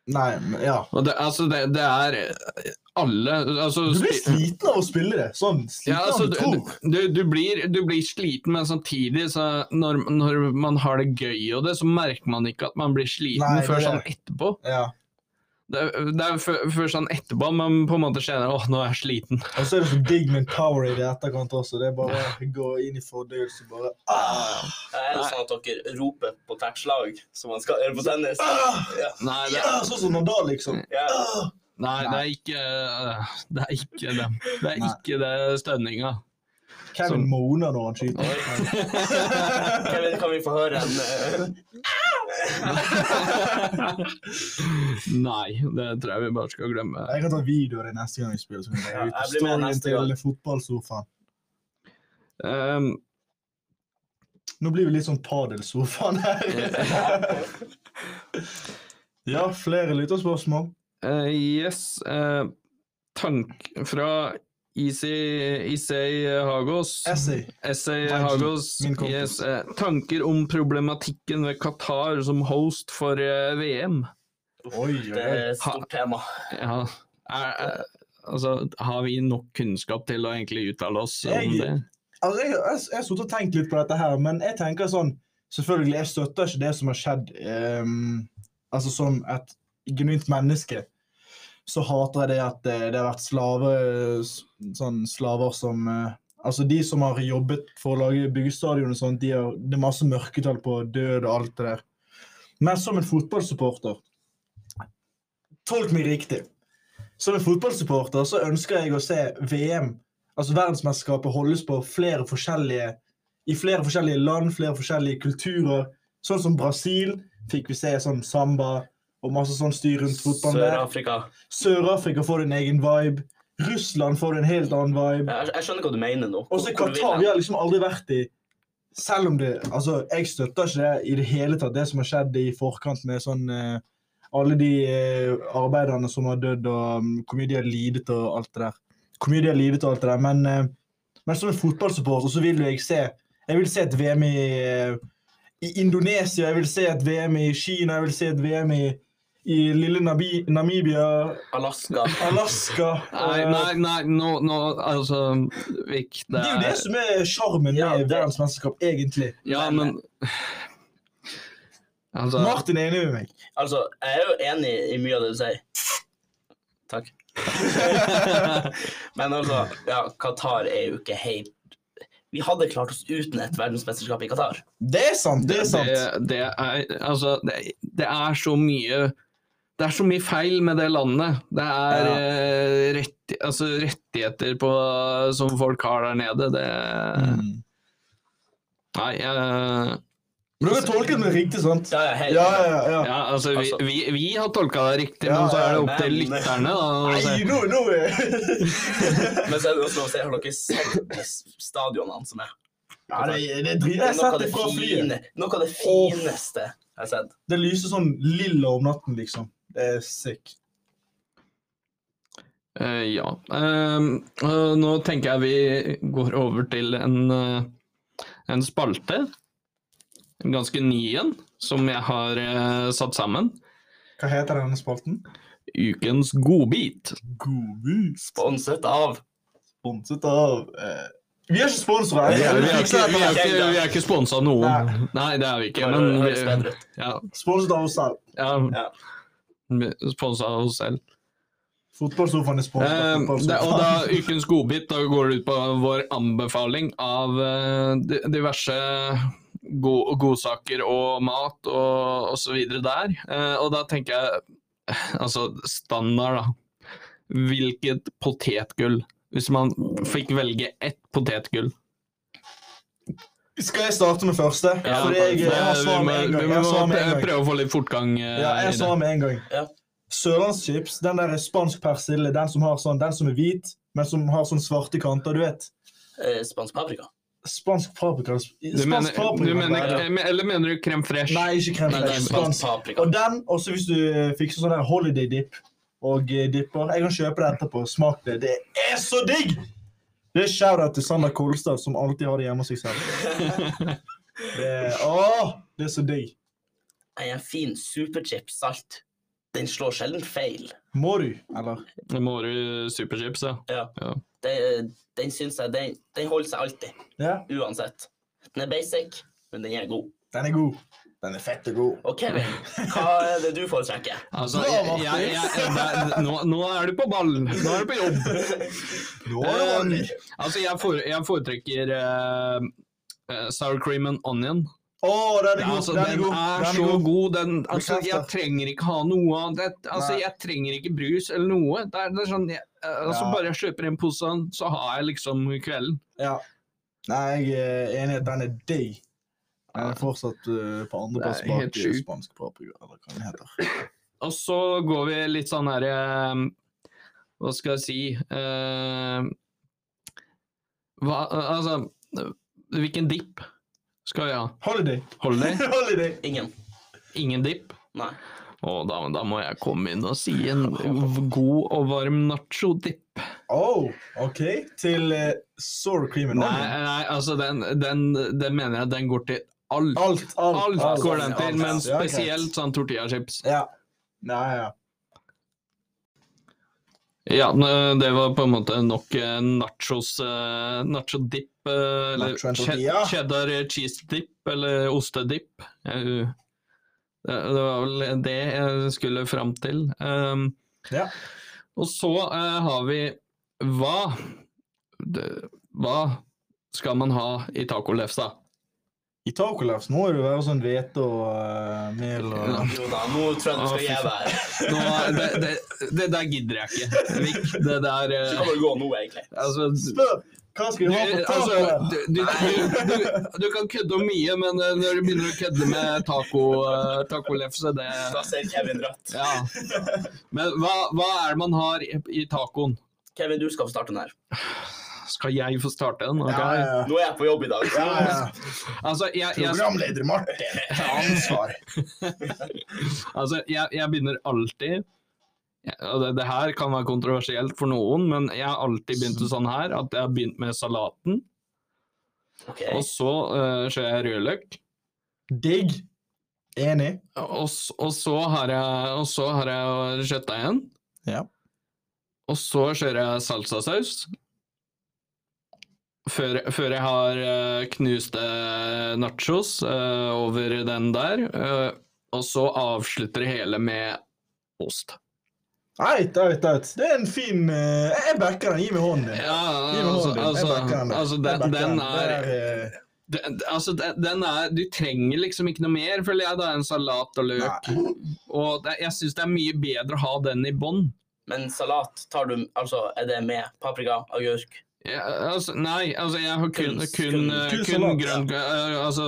Speaker 3: nei men, ja.
Speaker 2: Og det, altså, det, det er eh, alle altså,
Speaker 3: Du blir
Speaker 2: spi-
Speaker 3: sliten av å spille det. Sånn sliten
Speaker 2: ja, altså,
Speaker 3: av
Speaker 2: du,
Speaker 3: du tror.
Speaker 2: du, du, blir, du blir sliten, men samtidig så når, når man har det gøy og det, så merker man ikke at man blir sliten
Speaker 3: Nei, det
Speaker 2: før
Speaker 3: er
Speaker 2: sånn
Speaker 3: det.
Speaker 2: etterpå.
Speaker 3: Ja.
Speaker 2: Det, er- det er før, før sånn etterpå man på en måte kjenner åh, nå er jeg sliten.
Speaker 3: Og så er det så digg med en Powerade i etterkant også. Det er bare å gå inn i fordøyelse bare ah,
Speaker 4: Er det sånn at dere roper på hvert slag som man skal gjøre på tennis?
Speaker 3: ah,
Speaker 4: Ja.
Speaker 2: Nei, det,
Speaker 3: ja, Sånn som Nadal, liksom.
Speaker 4: Ja.
Speaker 3: Ah.
Speaker 2: nei, det er ikke øh, Det er ikke det. Det er
Speaker 3: Nei.
Speaker 2: ikke det stønninga. Sånn.
Speaker 3: Kevin moaner når han skyter.
Speaker 4: Kevin, kan vi få høre en eh,
Speaker 2: Nei, det tror jeg vi bare skal glemme.
Speaker 3: Jeg kan ta videoer i neste gang vi spiller. Så kan jeg
Speaker 4: Ja,
Speaker 3: legge ut
Speaker 4: jeg blir med
Speaker 3: storyen
Speaker 4: neste
Speaker 3: til
Speaker 4: gang.
Speaker 3: fotballsofaen.
Speaker 2: Um,
Speaker 3: Nå blir vi litt sånn padelsofaen <laughs> her. ja, flere lytterspørsmål.
Speaker 2: Eh, yes. eh, tank fra Easy Isay Hagos.
Speaker 3: Essay.
Speaker 2: Essay
Speaker 3: Thank you,
Speaker 2: Hagos.
Speaker 3: min kompis.
Speaker 2: Yes, eh, tanker om problematikken ved Qatar som host for eh, VM.
Speaker 3: Oi, oi,
Speaker 4: Det er
Speaker 3: oi.
Speaker 4: et eh, stort tema.
Speaker 2: Ja, er, er, altså, har vi nok kunnskap til å egentlig uttale oss om
Speaker 3: Jeg-
Speaker 2: det?
Speaker 3: Altså, jeg jeg- jeg har sittet og tenkt litt på dette her, men jeg tenker sånn Selvfølgelig, jeg støtter ikke det som har skjedd. ehm, altså som et genuint menneske så hater jeg det at eh, det har vært slave, s- sånn slaver som eh, Altså de som har jobbet for å lage byggestadion og sånt, de har, det er masse mørketall på død og alt det der. Men som en fotballsupporter Tolk meg riktig. Som en fotballsupporter så ønsker jeg å se VM altså verdensmesterskapet holdes på flere forskjellige i flere forskjellige land, flere forskjellige kulturer. Sånn som Brasil fikk vi se sånn samba og masse sånn styr rundt fotballen der.
Speaker 4: Sør-Afrika.
Speaker 3: Sør-Afrika får en egen vibe. Russland får en helt annen vibe.
Speaker 4: Jeg, jeg skjønner hva du mener nå.
Speaker 3: Og så
Speaker 4: Hvor du vil
Speaker 3: Qatar,
Speaker 4: hen.
Speaker 3: vi har liksom aldri vært i Selv om det Altså, jeg støtter ikke det i det hele tatt, det som har skjedd i forkant med sånn eh, Alle de eh, arbeiderne som har dødd, og mm, hvor mye de har lidet og alt det der. Hvor mye de har lidet og alt det der. Men, eh, men som en fotballsupporter så vil jo jeg se Jeg vil se et VM i, eh, i Indonesia, jeg vil se et VM i Kina, jeg vil se et VM i i lille Nabi Namibia,
Speaker 4: Alaska.
Speaker 3: Alaska
Speaker 2: Nei,
Speaker 3: eh,
Speaker 2: nei, nei, nå, nå altså Vik, det
Speaker 3: Det er jo det som er sjarmen med
Speaker 4: Ja, det-
Speaker 3: verdens mesterskap, egentlig.
Speaker 2: Ja, men Altså
Speaker 3: Martin er enig med meg.
Speaker 4: Altså, jeg er jo enig i mye av det du sier.
Speaker 3: <laughs>
Speaker 4: Takk. Men altså, ja, Qatar er jo ikke helt Vi hadde klart oss uten et verdensmesterskap i Qatar.
Speaker 3: Det er sant! Det er sant.
Speaker 2: Det, det, er, altså, det, det er så mye det er så mye feil med det landet. Det er
Speaker 3: Ja.
Speaker 2: eh, rett, altså rettigheter på, som folk har der nede. Det
Speaker 3: Mm.
Speaker 2: Nei, jeg
Speaker 3: Men dere tolket meg riktig, sant?
Speaker 4: Ja, ja, helt.
Speaker 3: Ja, ja, ja.
Speaker 2: ja, altså, vi,
Speaker 4: Altså-
Speaker 2: vi, vi har tolka det riktig,
Speaker 3: Ja,
Speaker 2: men så er det
Speaker 3: ja,
Speaker 2: opp til
Speaker 4: men-
Speaker 2: lytterne. Da, å
Speaker 3: Nei,
Speaker 2: se.
Speaker 3: nå, nå er
Speaker 4: Men så er det også lov å si, har dere sett de stadionene som er?
Speaker 3: Ja, det, <laughs> det er drit.
Speaker 4: Det
Speaker 3: Jeg
Speaker 4: er
Speaker 3: har
Speaker 4: noe av
Speaker 3: sett det
Speaker 4: det,
Speaker 3: fra flyet.
Speaker 4: fine, noe av det
Speaker 3: Åh.
Speaker 4: fineste jeg har sett.
Speaker 3: Det lyser sånn lilla om natten, liksom. Det er sick.
Speaker 2: Eh, ja. Ehm, eh, nå tenker jeg vi går over til en, eh, en spalte. En ganske ny en, som jeg har eh, satt sammen.
Speaker 3: Hva heter denne spalten?
Speaker 2: Ukens godbit.
Speaker 3: Godbit.
Speaker 4: Sponset av
Speaker 3: Sponset av eh, Vi er ikke sponsorer.
Speaker 2: Vi er, vi er, ikke, vi er,
Speaker 3: Sponset
Speaker 2: ikke, vi er ikke sponsa av noen.
Speaker 3: Nei.
Speaker 2: Nei, det er vi ikke.
Speaker 4: Det
Speaker 2: Men eh,
Speaker 4: høres
Speaker 2: vi,
Speaker 4: bedre ut.
Speaker 2: ja,
Speaker 3: av oss selv.
Speaker 2: ja,
Speaker 4: Ja.
Speaker 2: sponsa av oss selv.
Speaker 3: Fotballsofaen er sponset
Speaker 2: Eh, det,
Speaker 3: av
Speaker 2: og da
Speaker 3: fotballsofaen.
Speaker 2: ukens godbit, da går det ut på vår anbefaling av eh, di- diverse go godsaker og mat og, og så videre der. Eh, og da tenker jeg Altså, standard, da. Hvilket potetgull? Hvis man fikk velge ett potetgull.
Speaker 3: Skal jeg starte med første?
Speaker 2: Ja,
Speaker 3: Fordi jeg, jeg har
Speaker 2: vi
Speaker 3: svar
Speaker 2: må-
Speaker 3: med en
Speaker 2: vi
Speaker 3: gang.
Speaker 2: må
Speaker 3: Jeg har svar med en
Speaker 2: prø-
Speaker 3: gang.
Speaker 2: prøve å få litt fortgang eh,
Speaker 3: Ja,
Speaker 2: i
Speaker 3: jeg
Speaker 2: det.
Speaker 3: svar med en gang.
Speaker 4: Ja.
Speaker 3: Sørlandschips, den der er spansk persille, den som har sånn, den som er hvit, men som har sånn svarte kanter, du vet.
Speaker 4: eh, spansk paprika.
Speaker 3: Spansk paprika.
Speaker 2: Du
Speaker 3: Spansk
Speaker 2: mener,
Speaker 3: paprika.
Speaker 2: du mener,
Speaker 4: bare.
Speaker 2: men- eller mener du krem fresh?
Speaker 3: Nei, ikke krem.
Speaker 4: Nei, det er
Speaker 3: Spansk.
Speaker 4: spansk paprika.
Speaker 3: Og den, også hvis du fikser sånn der holiday dip og eh, dipper Jeg kan kjøpe det etterpå. Smak det. Det er så digg! Det er shout-out til Sander Kolstad, som alltid har det hjemme hos seg selv.
Speaker 2: <laughs>
Speaker 3: Det er, åh, det er så digg.
Speaker 4: Nei, En fin superchips salt. Den slår sjelden feil.
Speaker 3: Må du, eller?
Speaker 2: Det må være superchips, ja.
Speaker 4: Ja.
Speaker 2: Ja.
Speaker 4: Det, den syns jeg den, den holder seg alltid.
Speaker 3: Ja.
Speaker 4: Uansett. Den er basic, men den er god.
Speaker 3: Den er god. Den er fett og <laughs> god.
Speaker 4: Og Kevin, hva er det du foretrekker?
Speaker 2: Altså,
Speaker 3: Bra,
Speaker 2: jeg,
Speaker 3: Martin.
Speaker 2: jeg, jeg, det- nå, nå er du på ballen. Nå er du på jobb.
Speaker 3: Nå er det
Speaker 2: Um,
Speaker 3: vanlig.
Speaker 2: altså, jeg, fore, jeg foretrekker eh, eh, sour cream and onion.
Speaker 3: Å, den er god.
Speaker 2: Altså,
Speaker 3: den er
Speaker 2: den
Speaker 3: god.
Speaker 2: er
Speaker 3: den er
Speaker 2: så
Speaker 3: god.
Speaker 2: god. Den, altså,
Speaker 3: Bekreftet.
Speaker 2: jeg trenger ikke ha noe av det. Altså,
Speaker 3: Nei.
Speaker 2: jeg trenger ikke brus eller noe. Det er, det er sånn, jeg, eh, altså,
Speaker 3: Ja.
Speaker 2: Bare jeg kjøper en pose, av den, så har jeg liksom kvelden.
Speaker 3: Ja. Nei, jeg er enig i at den er digg. Den er fortsatt uh, på andreplass
Speaker 2: Det er helt
Speaker 3: bak eh,
Speaker 2: sjukt.
Speaker 3: spansk paprika, eller hva den heter.
Speaker 2: Og så går vi litt sånn her eh, Hva skal jeg si eh, hva, Altså, hvilken dipp skal vi ha?
Speaker 3: Holiday. <laughs>
Speaker 2: Holder det?
Speaker 3: Holiday.
Speaker 4: Ingen.
Speaker 2: Ingen dipp?
Speaker 4: Nei.
Speaker 2: Å, da, da må jeg komme inn og si en god og varm nacho-dipp.
Speaker 3: Oh, OK. Til uh, sour cream and
Speaker 2: Nei,
Speaker 3: onion.
Speaker 2: nei, altså den, den, den mener jeg den går til alt.
Speaker 3: Alt, alt,
Speaker 2: Alt, går den til,
Speaker 4: alt.
Speaker 2: men
Speaker 3: Ja, greit.
Speaker 2: spesielt sånn tortillachips.
Speaker 3: Ja. Nei, ja.
Speaker 2: Ja, n- det var på en måte nok eh, nachos eh, nacho-dipp. eh, Eller
Speaker 3: Nacho and
Speaker 2: che-
Speaker 3: tortilla.
Speaker 2: cheddar cheese-dipp eller ostedipp. Jeg- Det det var vel det jeg skulle fram til. Um,
Speaker 3: ja.
Speaker 2: Og så eh, har vi hva det, Hva skal man ha i tacolefsa?
Speaker 3: I tacolefs må det jo være sånn hvete og eh, mel og
Speaker 2: Ja.
Speaker 4: Jo da, nå tror jeg du skal gi deg.
Speaker 2: Nå, det, det, det der gidder jeg ikke, Vik. Det der
Speaker 4: Du
Speaker 2: eh,
Speaker 4: kan bare gå nå, egentlig.
Speaker 2: Altså, du,
Speaker 3: Spør! Hva skal
Speaker 2: du,
Speaker 3: vi ha på
Speaker 2: altså
Speaker 3: taco?
Speaker 2: du, du, du, du, du kan kødde om mye, men eh, når du begynner å kødde med taco, eh, tacolefse, det
Speaker 4: Da ser Kevin rødt.
Speaker 2: Ja. Men hva, hva er det man har i, i tacoen?
Speaker 4: Kevin, du skal få starte den her.
Speaker 2: Skal jeg få starte den? Ok.
Speaker 3: Ja, ja, ja.
Speaker 4: Nå er jeg på jobb i dag.
Speaker 3: Ja, ja.
Speaker 2: Altså, jeg, jeg,
Speaker 3: Programleder Martin tar ansvar.
Speaker 2: Altså, jeg, jeg begynner alltid jeg- og det, det her kan være kontroversielt for noen, men jeg har alltid begynt sånn her, at jeg har begynt med salaten,
Speaker 4: Ok.
Speaker 3: Eh.
Speaker 2: og så uh, kjører jeg rødløk,
Speaker 3: Digg. Enig.
Speaker 2: og, s- og så har jeg, og så har jeg kjøttdeigen,
Speaker 3: Ja.
Speaker 2: og så kjører jeg salsasaus, før, før jeg har eh, knuste nachos eh, over den der, eh, og så avslutter det hele med ost.
Speaker 3: Eit, eit, eit. Det er en fin eh, Jeg backer den. Gi meg hånden din.
Speaker 2: Ja,
Speaker 3: Gi meg
Speaker 2: altså,
Speaker 3: hånden din.
Speaker 2: altså,
Speaker 3: jeg backer den.
Speaker 2: altså
Speaker 3: Jeg
Speaker 2: den, den
Speaker 3: backer Det
Speaker 2: er
Speaker 3: eh,
Speaker 2: den, altså, den den er Du trenger liksom ikke noe mer, føler jeg, da, enn salat og løk. Og det, jeg syns det er mye bedre å ha den i bånn.
Speaker 4: Men salat tar du Altså, er det med paprika, agurk?
Speaker 2: Ja, altså, nei, altså jeg har kun,
Speaker 4: Kun-
Speaker 2: kun,
Speaker 4: kun-
Speaker 2: eh,
Speaker 3: kun
Speaker 2: kun
Speaker 3: salat,
Speaker 2: grønn eh, Altså,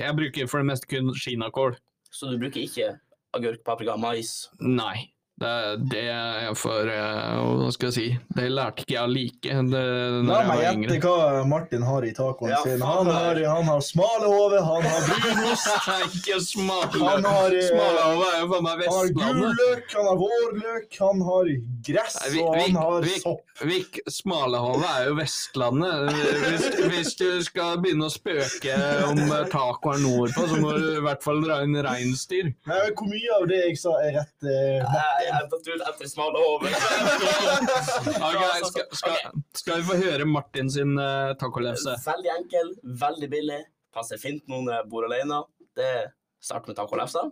Speaker 2: jeg bruker for det meste kun kinakål.
Speaker 4: Så du bruker ikke agurk, paprika, mais?
Speaker 2: Nei. Det, det er for eh, Hva skal jeg si? Det lærte ikke jeg å like det,
Speaker 3: La
Speaker 2: når
Speaker 3: meg
Speaker 2: jeg var <laughs>
Speaker 3: gjette
Speaker 2: yngre.
Speaker 3: hva Martin har i tacoen
Speaker 4: Ja,
Speaker 3: sin.
Speaker 4: faen,
Speaker 3: Han har,
Speaker 4: det
Speaker 3: han har smale hode, han har brunost,
Speaker 2: ikke
Speaker 3: han
Speaker 2: smale
Speaker 3: har, eh,
Speaker 2: Smalahove er jo faen meg
Speaker 3: han har gul
Speaker 2: Vestlandet.
Speaker 3: løk, han har vårløk, han har gress,
Speaker 2: Nei, vi-
Speaker 3: og
Speaker 2: vi-
Speaker 3: han har
Speaker 2: vi-
Speaker 3: sopp.
Speaker 2: Vik, Smalahove er jo Vestlandet. Hvis, hvis du skal begynne å spøke om eh, tacoer nordpå, så må du i hvert fall dra inn reinsdyr.
Speaker 3: Nei, men Hvor mye av det jeg sa, er rett eh,
Speaker 4: Jeg jeg datt ut etter smale <laughs> hode.
Speaker 2: Ok, skal, skal, skal vi få høre Martin sin uh, tacolefse?
Speaker 4: Veldig enkel, veldig billig. Passer fint nå når jeg bor alene. Det starter med tacolefsa,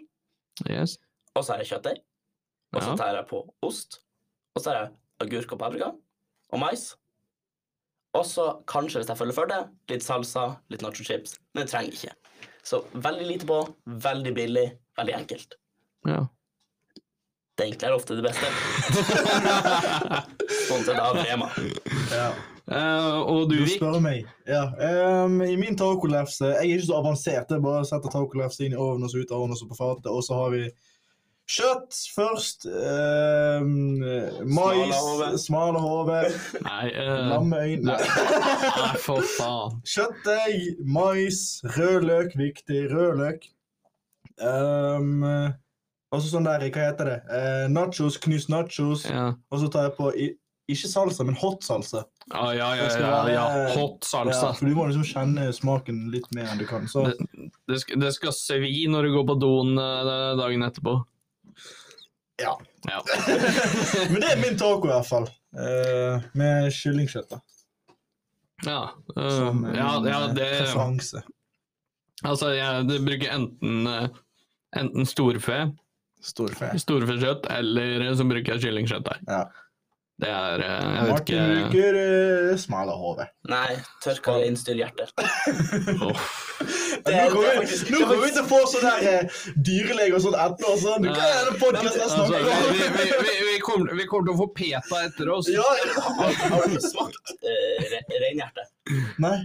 Speaker 2: Yes.
Speaker 4: og så er det kjøttdeig. Og så
Speaker 2: Ja.
Speaker 4: tar jeg på ost. Og så er det agurk og paprika og mais. Og så kanskje, hvis jeg følger for det, litt salsa, litt nacho chips. Men det trenger jeg ikke. Så veldig lite på, veldig billig, veldig enkelt.
Speaker 2: Ja.
Speaker 4: Det enkle er ofte det
Speaker 3: <laughs>
Speaker 4: beste. Sponset av Rema.
Speaker 3: ja.
Speaker 2: Eh, og du,
Speaker 3: Du
Speaker 2: Vik?
Speaker 3: spør meg. Ja. ehm, I min tacolefse Jeg er ikke så avansert. Jeg bare setter tacolefse inn i ovnen og så ut av ovnen og så på fatet. Og så har vi kjøtt først. ehm,
Speaker 4: Smalahove.
Speaker 3: mais.
Speaker 2: <laughs>
Speaker 3: Smalahove.
Speaker 2: Nei, uh,
Speaker 3: Lammeøyne.
Speaker 2: nei, for faen.
Speaker 3: <laughs> Kjøttdeig, mais, rødløk. Viktig. Rødløk. Um, og så sånn der, hva heter det? Eh, nachos, knust nachos.
Speaker 2: Ja.
Speaker 3: Og så tar jeg på i, ikke salsa, men hot salsa.
Speaker 2: Ah, ja, ja,
Speaker 3: Det skal
Speaker 2: ja,
Speaker 3: være-
Speaker 2: ja. Hot salsa.
Speaker 3: Ja, for du må liksom kjenne smaken litt mer enn du kan. Så
Speaker 2: Det skal, det skal svi når du går på doen eh, dagen etterpå.
Speaker 3: Ja.
Speaker 2: Ja.
Speaker 3: Men det er min taco i hvert fall. Eh, med kyllingkjøtt, da.
Speaker 2: Ja, eh,
Speaker 3: Som en
Speaker 2: ja, ja, det
Speaker 3: preferanse.
Speaker 2: Altså, jeg det bruker enten, eh, enten storfe,
Speaker 3: Storfe.
Speaker 2: storfekjøtt, eller så bruker jeg kyllingkjøtt der.
Speaker 3: Ja.
Speaker 2: Det er eh, Jeg vet
Speaker 3: Martin
Speaker 2: ikke
Speaker 3: bruker uh, smalahove.
Speaker 4: Nei, tørka
Speaker 3: <laughs>
Speaker 4: reinsdyrhjerter.
Speaker 2: Uff.
Speaker 4: Det
Speaker 3: Nå
Speaker 4: er- det er
Speaker 3: kommer
Speaker 4: faktisk-
Speaker 3: vi- nå kommer vi til å få sånn der eh, dyrelege og sånn etterpå. og Sånn. Du kan gjøre en podcast jeg
Speaker 2: Altså,
Speaker 3: snakker
Speaker 2: vi,
Speaker 3: om.
Speaker 2: vi, vi, vi, kommer, vi kommer til å få PETA etter oss.
Speaker 3: Ja,
Speaker 4: Har har du smakt eh, re- reinhjerte?
Speaker 3: Nei,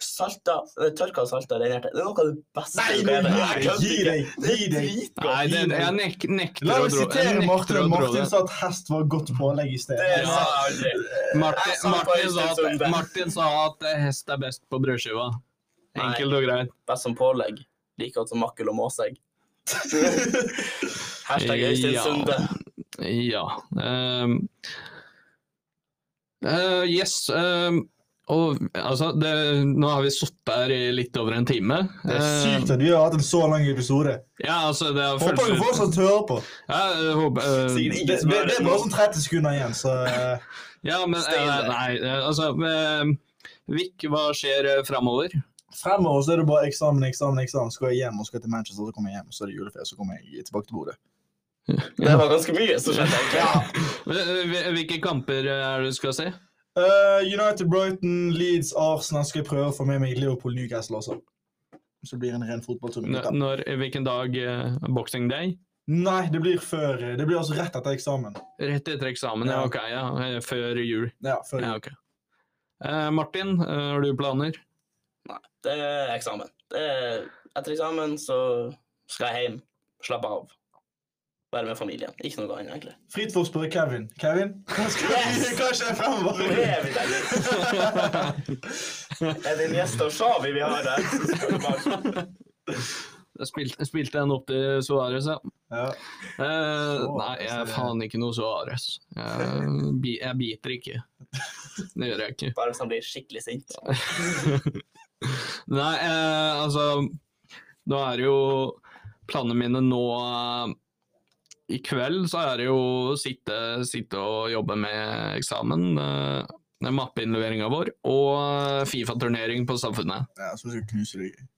Speaker 4: Salta, eh, tørka og salta reinhjerte. Det er noe av det beste
Speaker 3: Nei,
Speaker 4: du
Speaker 3: nå-
Speaker 4: kan gjøre. Jeg
Speaker 3: nei,
Speaker 4: kødder
Speaker 3: gi
Speaker 4: ikke.
Speaker 3: deg! Gi
Speaker 4: Det er
Speaker 3: deg!
Speaker 4: dritgodt.
Speaker 2: Nei, det, jeg nek, nekter
Speaker 3: La
Speaker 2: å
Speaker 3: meg
Speaker 2: tro jeg
Speaker 3: sitere
Speaker 2: nekter å
Speaker 3: Martin.
Speaker 2: tro
Speaker 3: Martin
Speaker 2: det.
Speaker 3: sa at hest var godt pålegg i sted.
Speaker 4: Det
Speaker 3: Ja.
Speaker 4: sa jeg aldri.
Speaker 2: Martin,
Speaker 4: Jeg sa
Speaker 2: Martin,
Speaker 4: faktisk
Speaker 2: sa
Speaker 4: det som
Speaker 2: at,
Speaker 4: det.
Speaker 2: Martin sa at eh, hest er best på brødskiva.
Speaker 4: Nei.
Speaker 2: Enkelt og greit.
Speaker 4: Best som pålegg. Like godt som makkel og <laughs> måsegg. Hashtag Øystein
Speaker 2: Ja.
Speaker 4: Sunde.
Speaker 2: Ja. ehm. Eh, yes. ehm, og altså, det, nå har vi sittet her i litt over en time.
Speaker 3: Det er
Speaker 2: Eh,
Speaker 3: sykt at vi har hatt en så lang episode.
Speaker 2: ja, altså, det har
Speaker 3: Håper
Speaker 2: føltes
Speaker 3: dere fortsatt hører på.
Speaker 2: ja, jeg håper, eh,
Speaker 3: Det,
Speaker 4: Sikkert
Speaker 3: det, det er bare sånn 30 sekunder igjen, så eh,
Speaker 2: ja, men eh,
Speaker 4: Stein der.
Speaker 2: Nei, eh, altså eh, Vik, hva skjer uh, framover?
Speaker 3: Fremover så er det bare eksamen, eksamen, eksamen. Skal jeg hjem og skal til Manchester, så kommer jeg hjem. Så er det juleferie, så kommer jeg tilbake til Bodø.
Speaker 4: Det var ganske mye som skjedde. egentlig.
Speaker 2: Eh, Hvilke kamper er det du skal se?
Speaker 3: Eh, United, Brighton, Leeds, Arsenal. Skal jeg prøve å få med meg Liverpool, Newcastle også. Så blir det en ren fotballturnering.
Speaker 2: N-
Speaker 3: gutta.
Speaker 2: Når, hvilken dag? eh, Boxing Day?
Speaker 3: Nei, det blir før Det blir altså rett etter eksamen.
Speaker 2: Rett etter eksamen, ja.
Speaker 3: Ja.
Speaker 2: Ok, ja. eh, Før jul.
Speaker 3: Ja, før
Speaker 2: Ja, ok. Eh, Martin, eh, har du planer?
Speaker 4: Det er eksamen. Det er, etter eksamen så skal jeg hjem, slappe av, være med familien. Ikke noe annet, egentlig.
Speaker 3: Fritt for å spørre Kevin. Kevin,
Speaker 2: <laughs>
Speaker 3: hva skal
Speaker 4: Yes!
Speaker 3: hva skjer fremover?
Speaker 4: Det er vi der. <laughs> Er det en gjest av Shawi vi har <laughs> der? Så skal vi bare-
Speaker 2: Jeg spilte, spilte den opp til Suárez, ja.
Speaker 3: Ja.
Speaker 2: Eh,
Speaker 3: Suárez,
Speaker 2: nei, jeg
Speaker 3: er
Speaker 2: er
Speaker 3: det-
Speaker 2: faen ikke noe Suárez. Jeg, bi- jeg biter ikke. Det gjør jeg ikke.
Speaker 4: Bare hvis han blir skikkelig sint.
Speaker 2: Nei, eh, altså Nå er det jo Planene mine nå eh, I kveld så er det jo å sitte, sitte og jobbe med eksamen. eh, med Mappeinnleveringa vår eh, og Fifa-turnering på Samfunnet.
Speaker 3: ja, så skal vi knuse deg.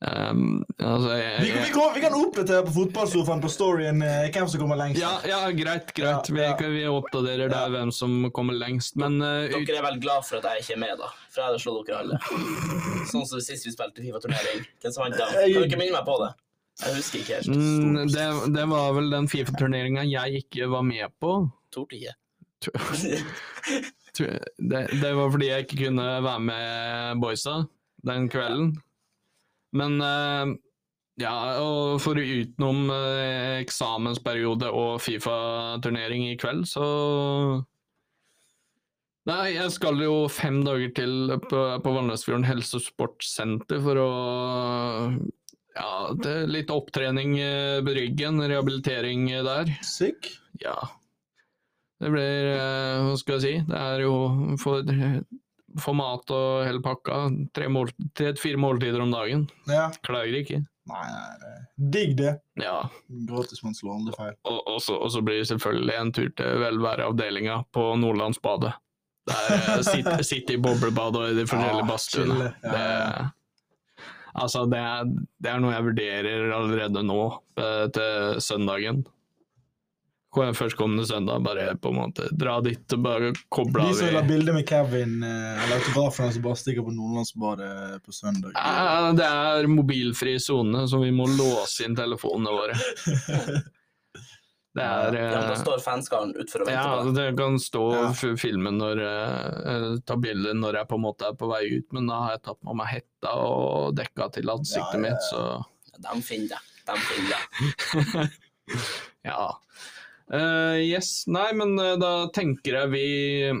Speaker 2: Ehm, altså, jeg,
Speaker 3: Vi, vi,
Speaker 2: jeg,
Speaker 3: går, vi kan oppdatere på fotballsofaen på storyen eh, hvem som kommer lengst.
Speaker 2: ja, ja, greit, greit. Vi,
Speaker 3: Ja, ja.
Speaker 2: vi oppdaterer
Speaker 3: Ja.
Speaker 2: der hvem som kommer lengst. Men eh, ut-
Speaker 4: Dere er vel glad for at jeg ikke er med, da. For jeg hadde slått dere alle. Sånn som sist vi spilte Fifa-turnering. Hvem som vant da? Kan dere minne meg på det? Jeg husker ikke helt.
Speaker 2: Mm, det, det var vel den Fifa-turneringa jeg ikke var med på.
Speaker 4: Torde ikke. <laughs>
Speaker 2: Tr- Det, det var fordi jeg ikke kunne være med boysa den kvelden. Men eh, ja, og for utenom eh, eksamensperiode og Fifa-turnering i kveld, så Nei, jeg skal jo fem dager til på, på Valnesfjorden helse- og sportssenter for å Ja, det er litt opptrening eh, på ryggen, rehabilitering eh, der.
Speaker 3: Syk.
Speaker 2: Ja. Det blir eh, Hva skal jeg si? Det er jo for, for mat og hele pakka. Tre mål- tre til fire måltider om dagen.
Speaker 3: Ja.
Speaker 2: Klager ikke.
Speaker 3: Nei, nei, nei. digg det.
Speaker 2: Ja.
Speaker 3: Gratis man slår aldri feil.
Speaker 2: Og, og, så, og så blir det selvfølgelig en tur til velværeavdelinga på Nordlandsbadet. Der eh, sitter, sitter i boblebad og i de forskjellige
Speaker 3: Ja,
Speaker 2: badstuene.
Speaker 3: chille, Ah, ja, ja.
Speaker 2: Det- Altså, det er, det er noe jeg vurderer allerede nå, eh, til søndagen. Hvor jeg Førstkommende søndag, bare på en måte dra dit og bare koble
Speaker 3: De
Speaker 2: av.
Speaker 3: som vil ha
Speaker 2: i-
Speaker 3: bilde med Kevin eh, eller autografen hans, bare stikker på Nordlandsbadet på søndag.
Speaker 2: Eh, Det er mobilfri sone, så vi må låse inn telefonene våre. Det er
Speaker 4: Ja,
Speaker 2: eh,
Speaker 4: da står fanskaren utfor og
Speaker 2: Ja,
Speaker 4: venter på deg.
Speaker 2: altså, det kan stå
Speaker 3: Ja.
Speaker 2: og f- filme når eh, eh, Ta bilde når jeg på en måte er på vei ut, men da har jeg tatt med meg hetta og dekka til ansiktet
Speaker 3: Ja, ja,
Speaker 2: mitt, så
Speaker 4: De finner deg. De finner deg.
Speaker 2: ja. Eh, yes. Nei, men eh, da tenker jeg vi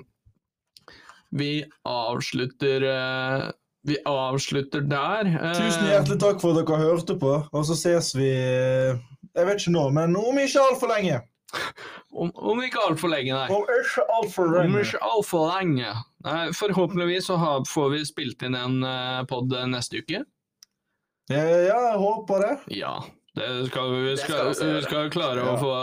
Speaker 2: Vi avslutter eh, Vi avslutter der. Eh,
Speaker 3: Tusen hjertelig takk for at dere hørte på, og så ses vi eh, Jeg vet ikke når, men om ikke altfor lenge.
Speaker 2: Om, om ikke altfor lenge, nei.
Speaker 3: Om ikke altfor
Speaker 2: Om
Speaker 3: lenge.
Speaker 2: ikke altfor lenge. Nei, forhåpentligvis så har, får vi spilt inn en uh, pod neste uke.
Speaker 3: Ja, ja, jeg håper det.
Speaker 2: Ja. Det skal vi, vi
Speaker 4: Det skal
Speaker 2: skal,
Speaker 4: vi også
Speaker 2: vi skal klare å
Speaker 3: Ja.
Speaker 2: få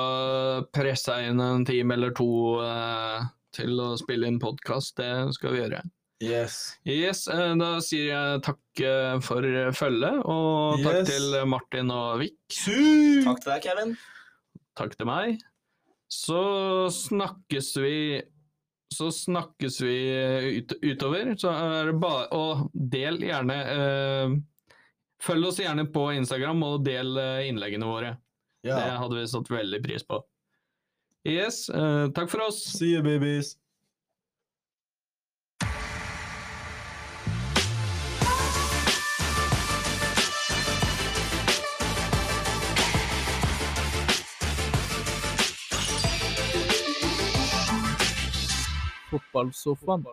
Speaker 2: pressa inn en time eller to eh, til å spille inn podkast. Det skal vi gjøre.
Speaker 3: Yes.
Speaker 2: Yes, eh, da sier jeg takk eh, for følget, og takk
Speaker 3: Yes.
Speaker 2: til Martin og Vik.
Speaker 3: Su!
Speaker 4: Takk til deg, Kevin.
Speaker 2: Takk til meg. Så snakkes vi Så snakkes vi ut, utover. Så er det bare Og del gjerne eh, Følg oss gjerne på Instagram, og del eh, innleggene våre.
Speaker 3: Ja.
Speaker 2: Det hadde vi satt veldig pris på. Yes, eh, takk for oss.
Speaker 3: See you, babies.
Speaker 2: Fotballsofaen.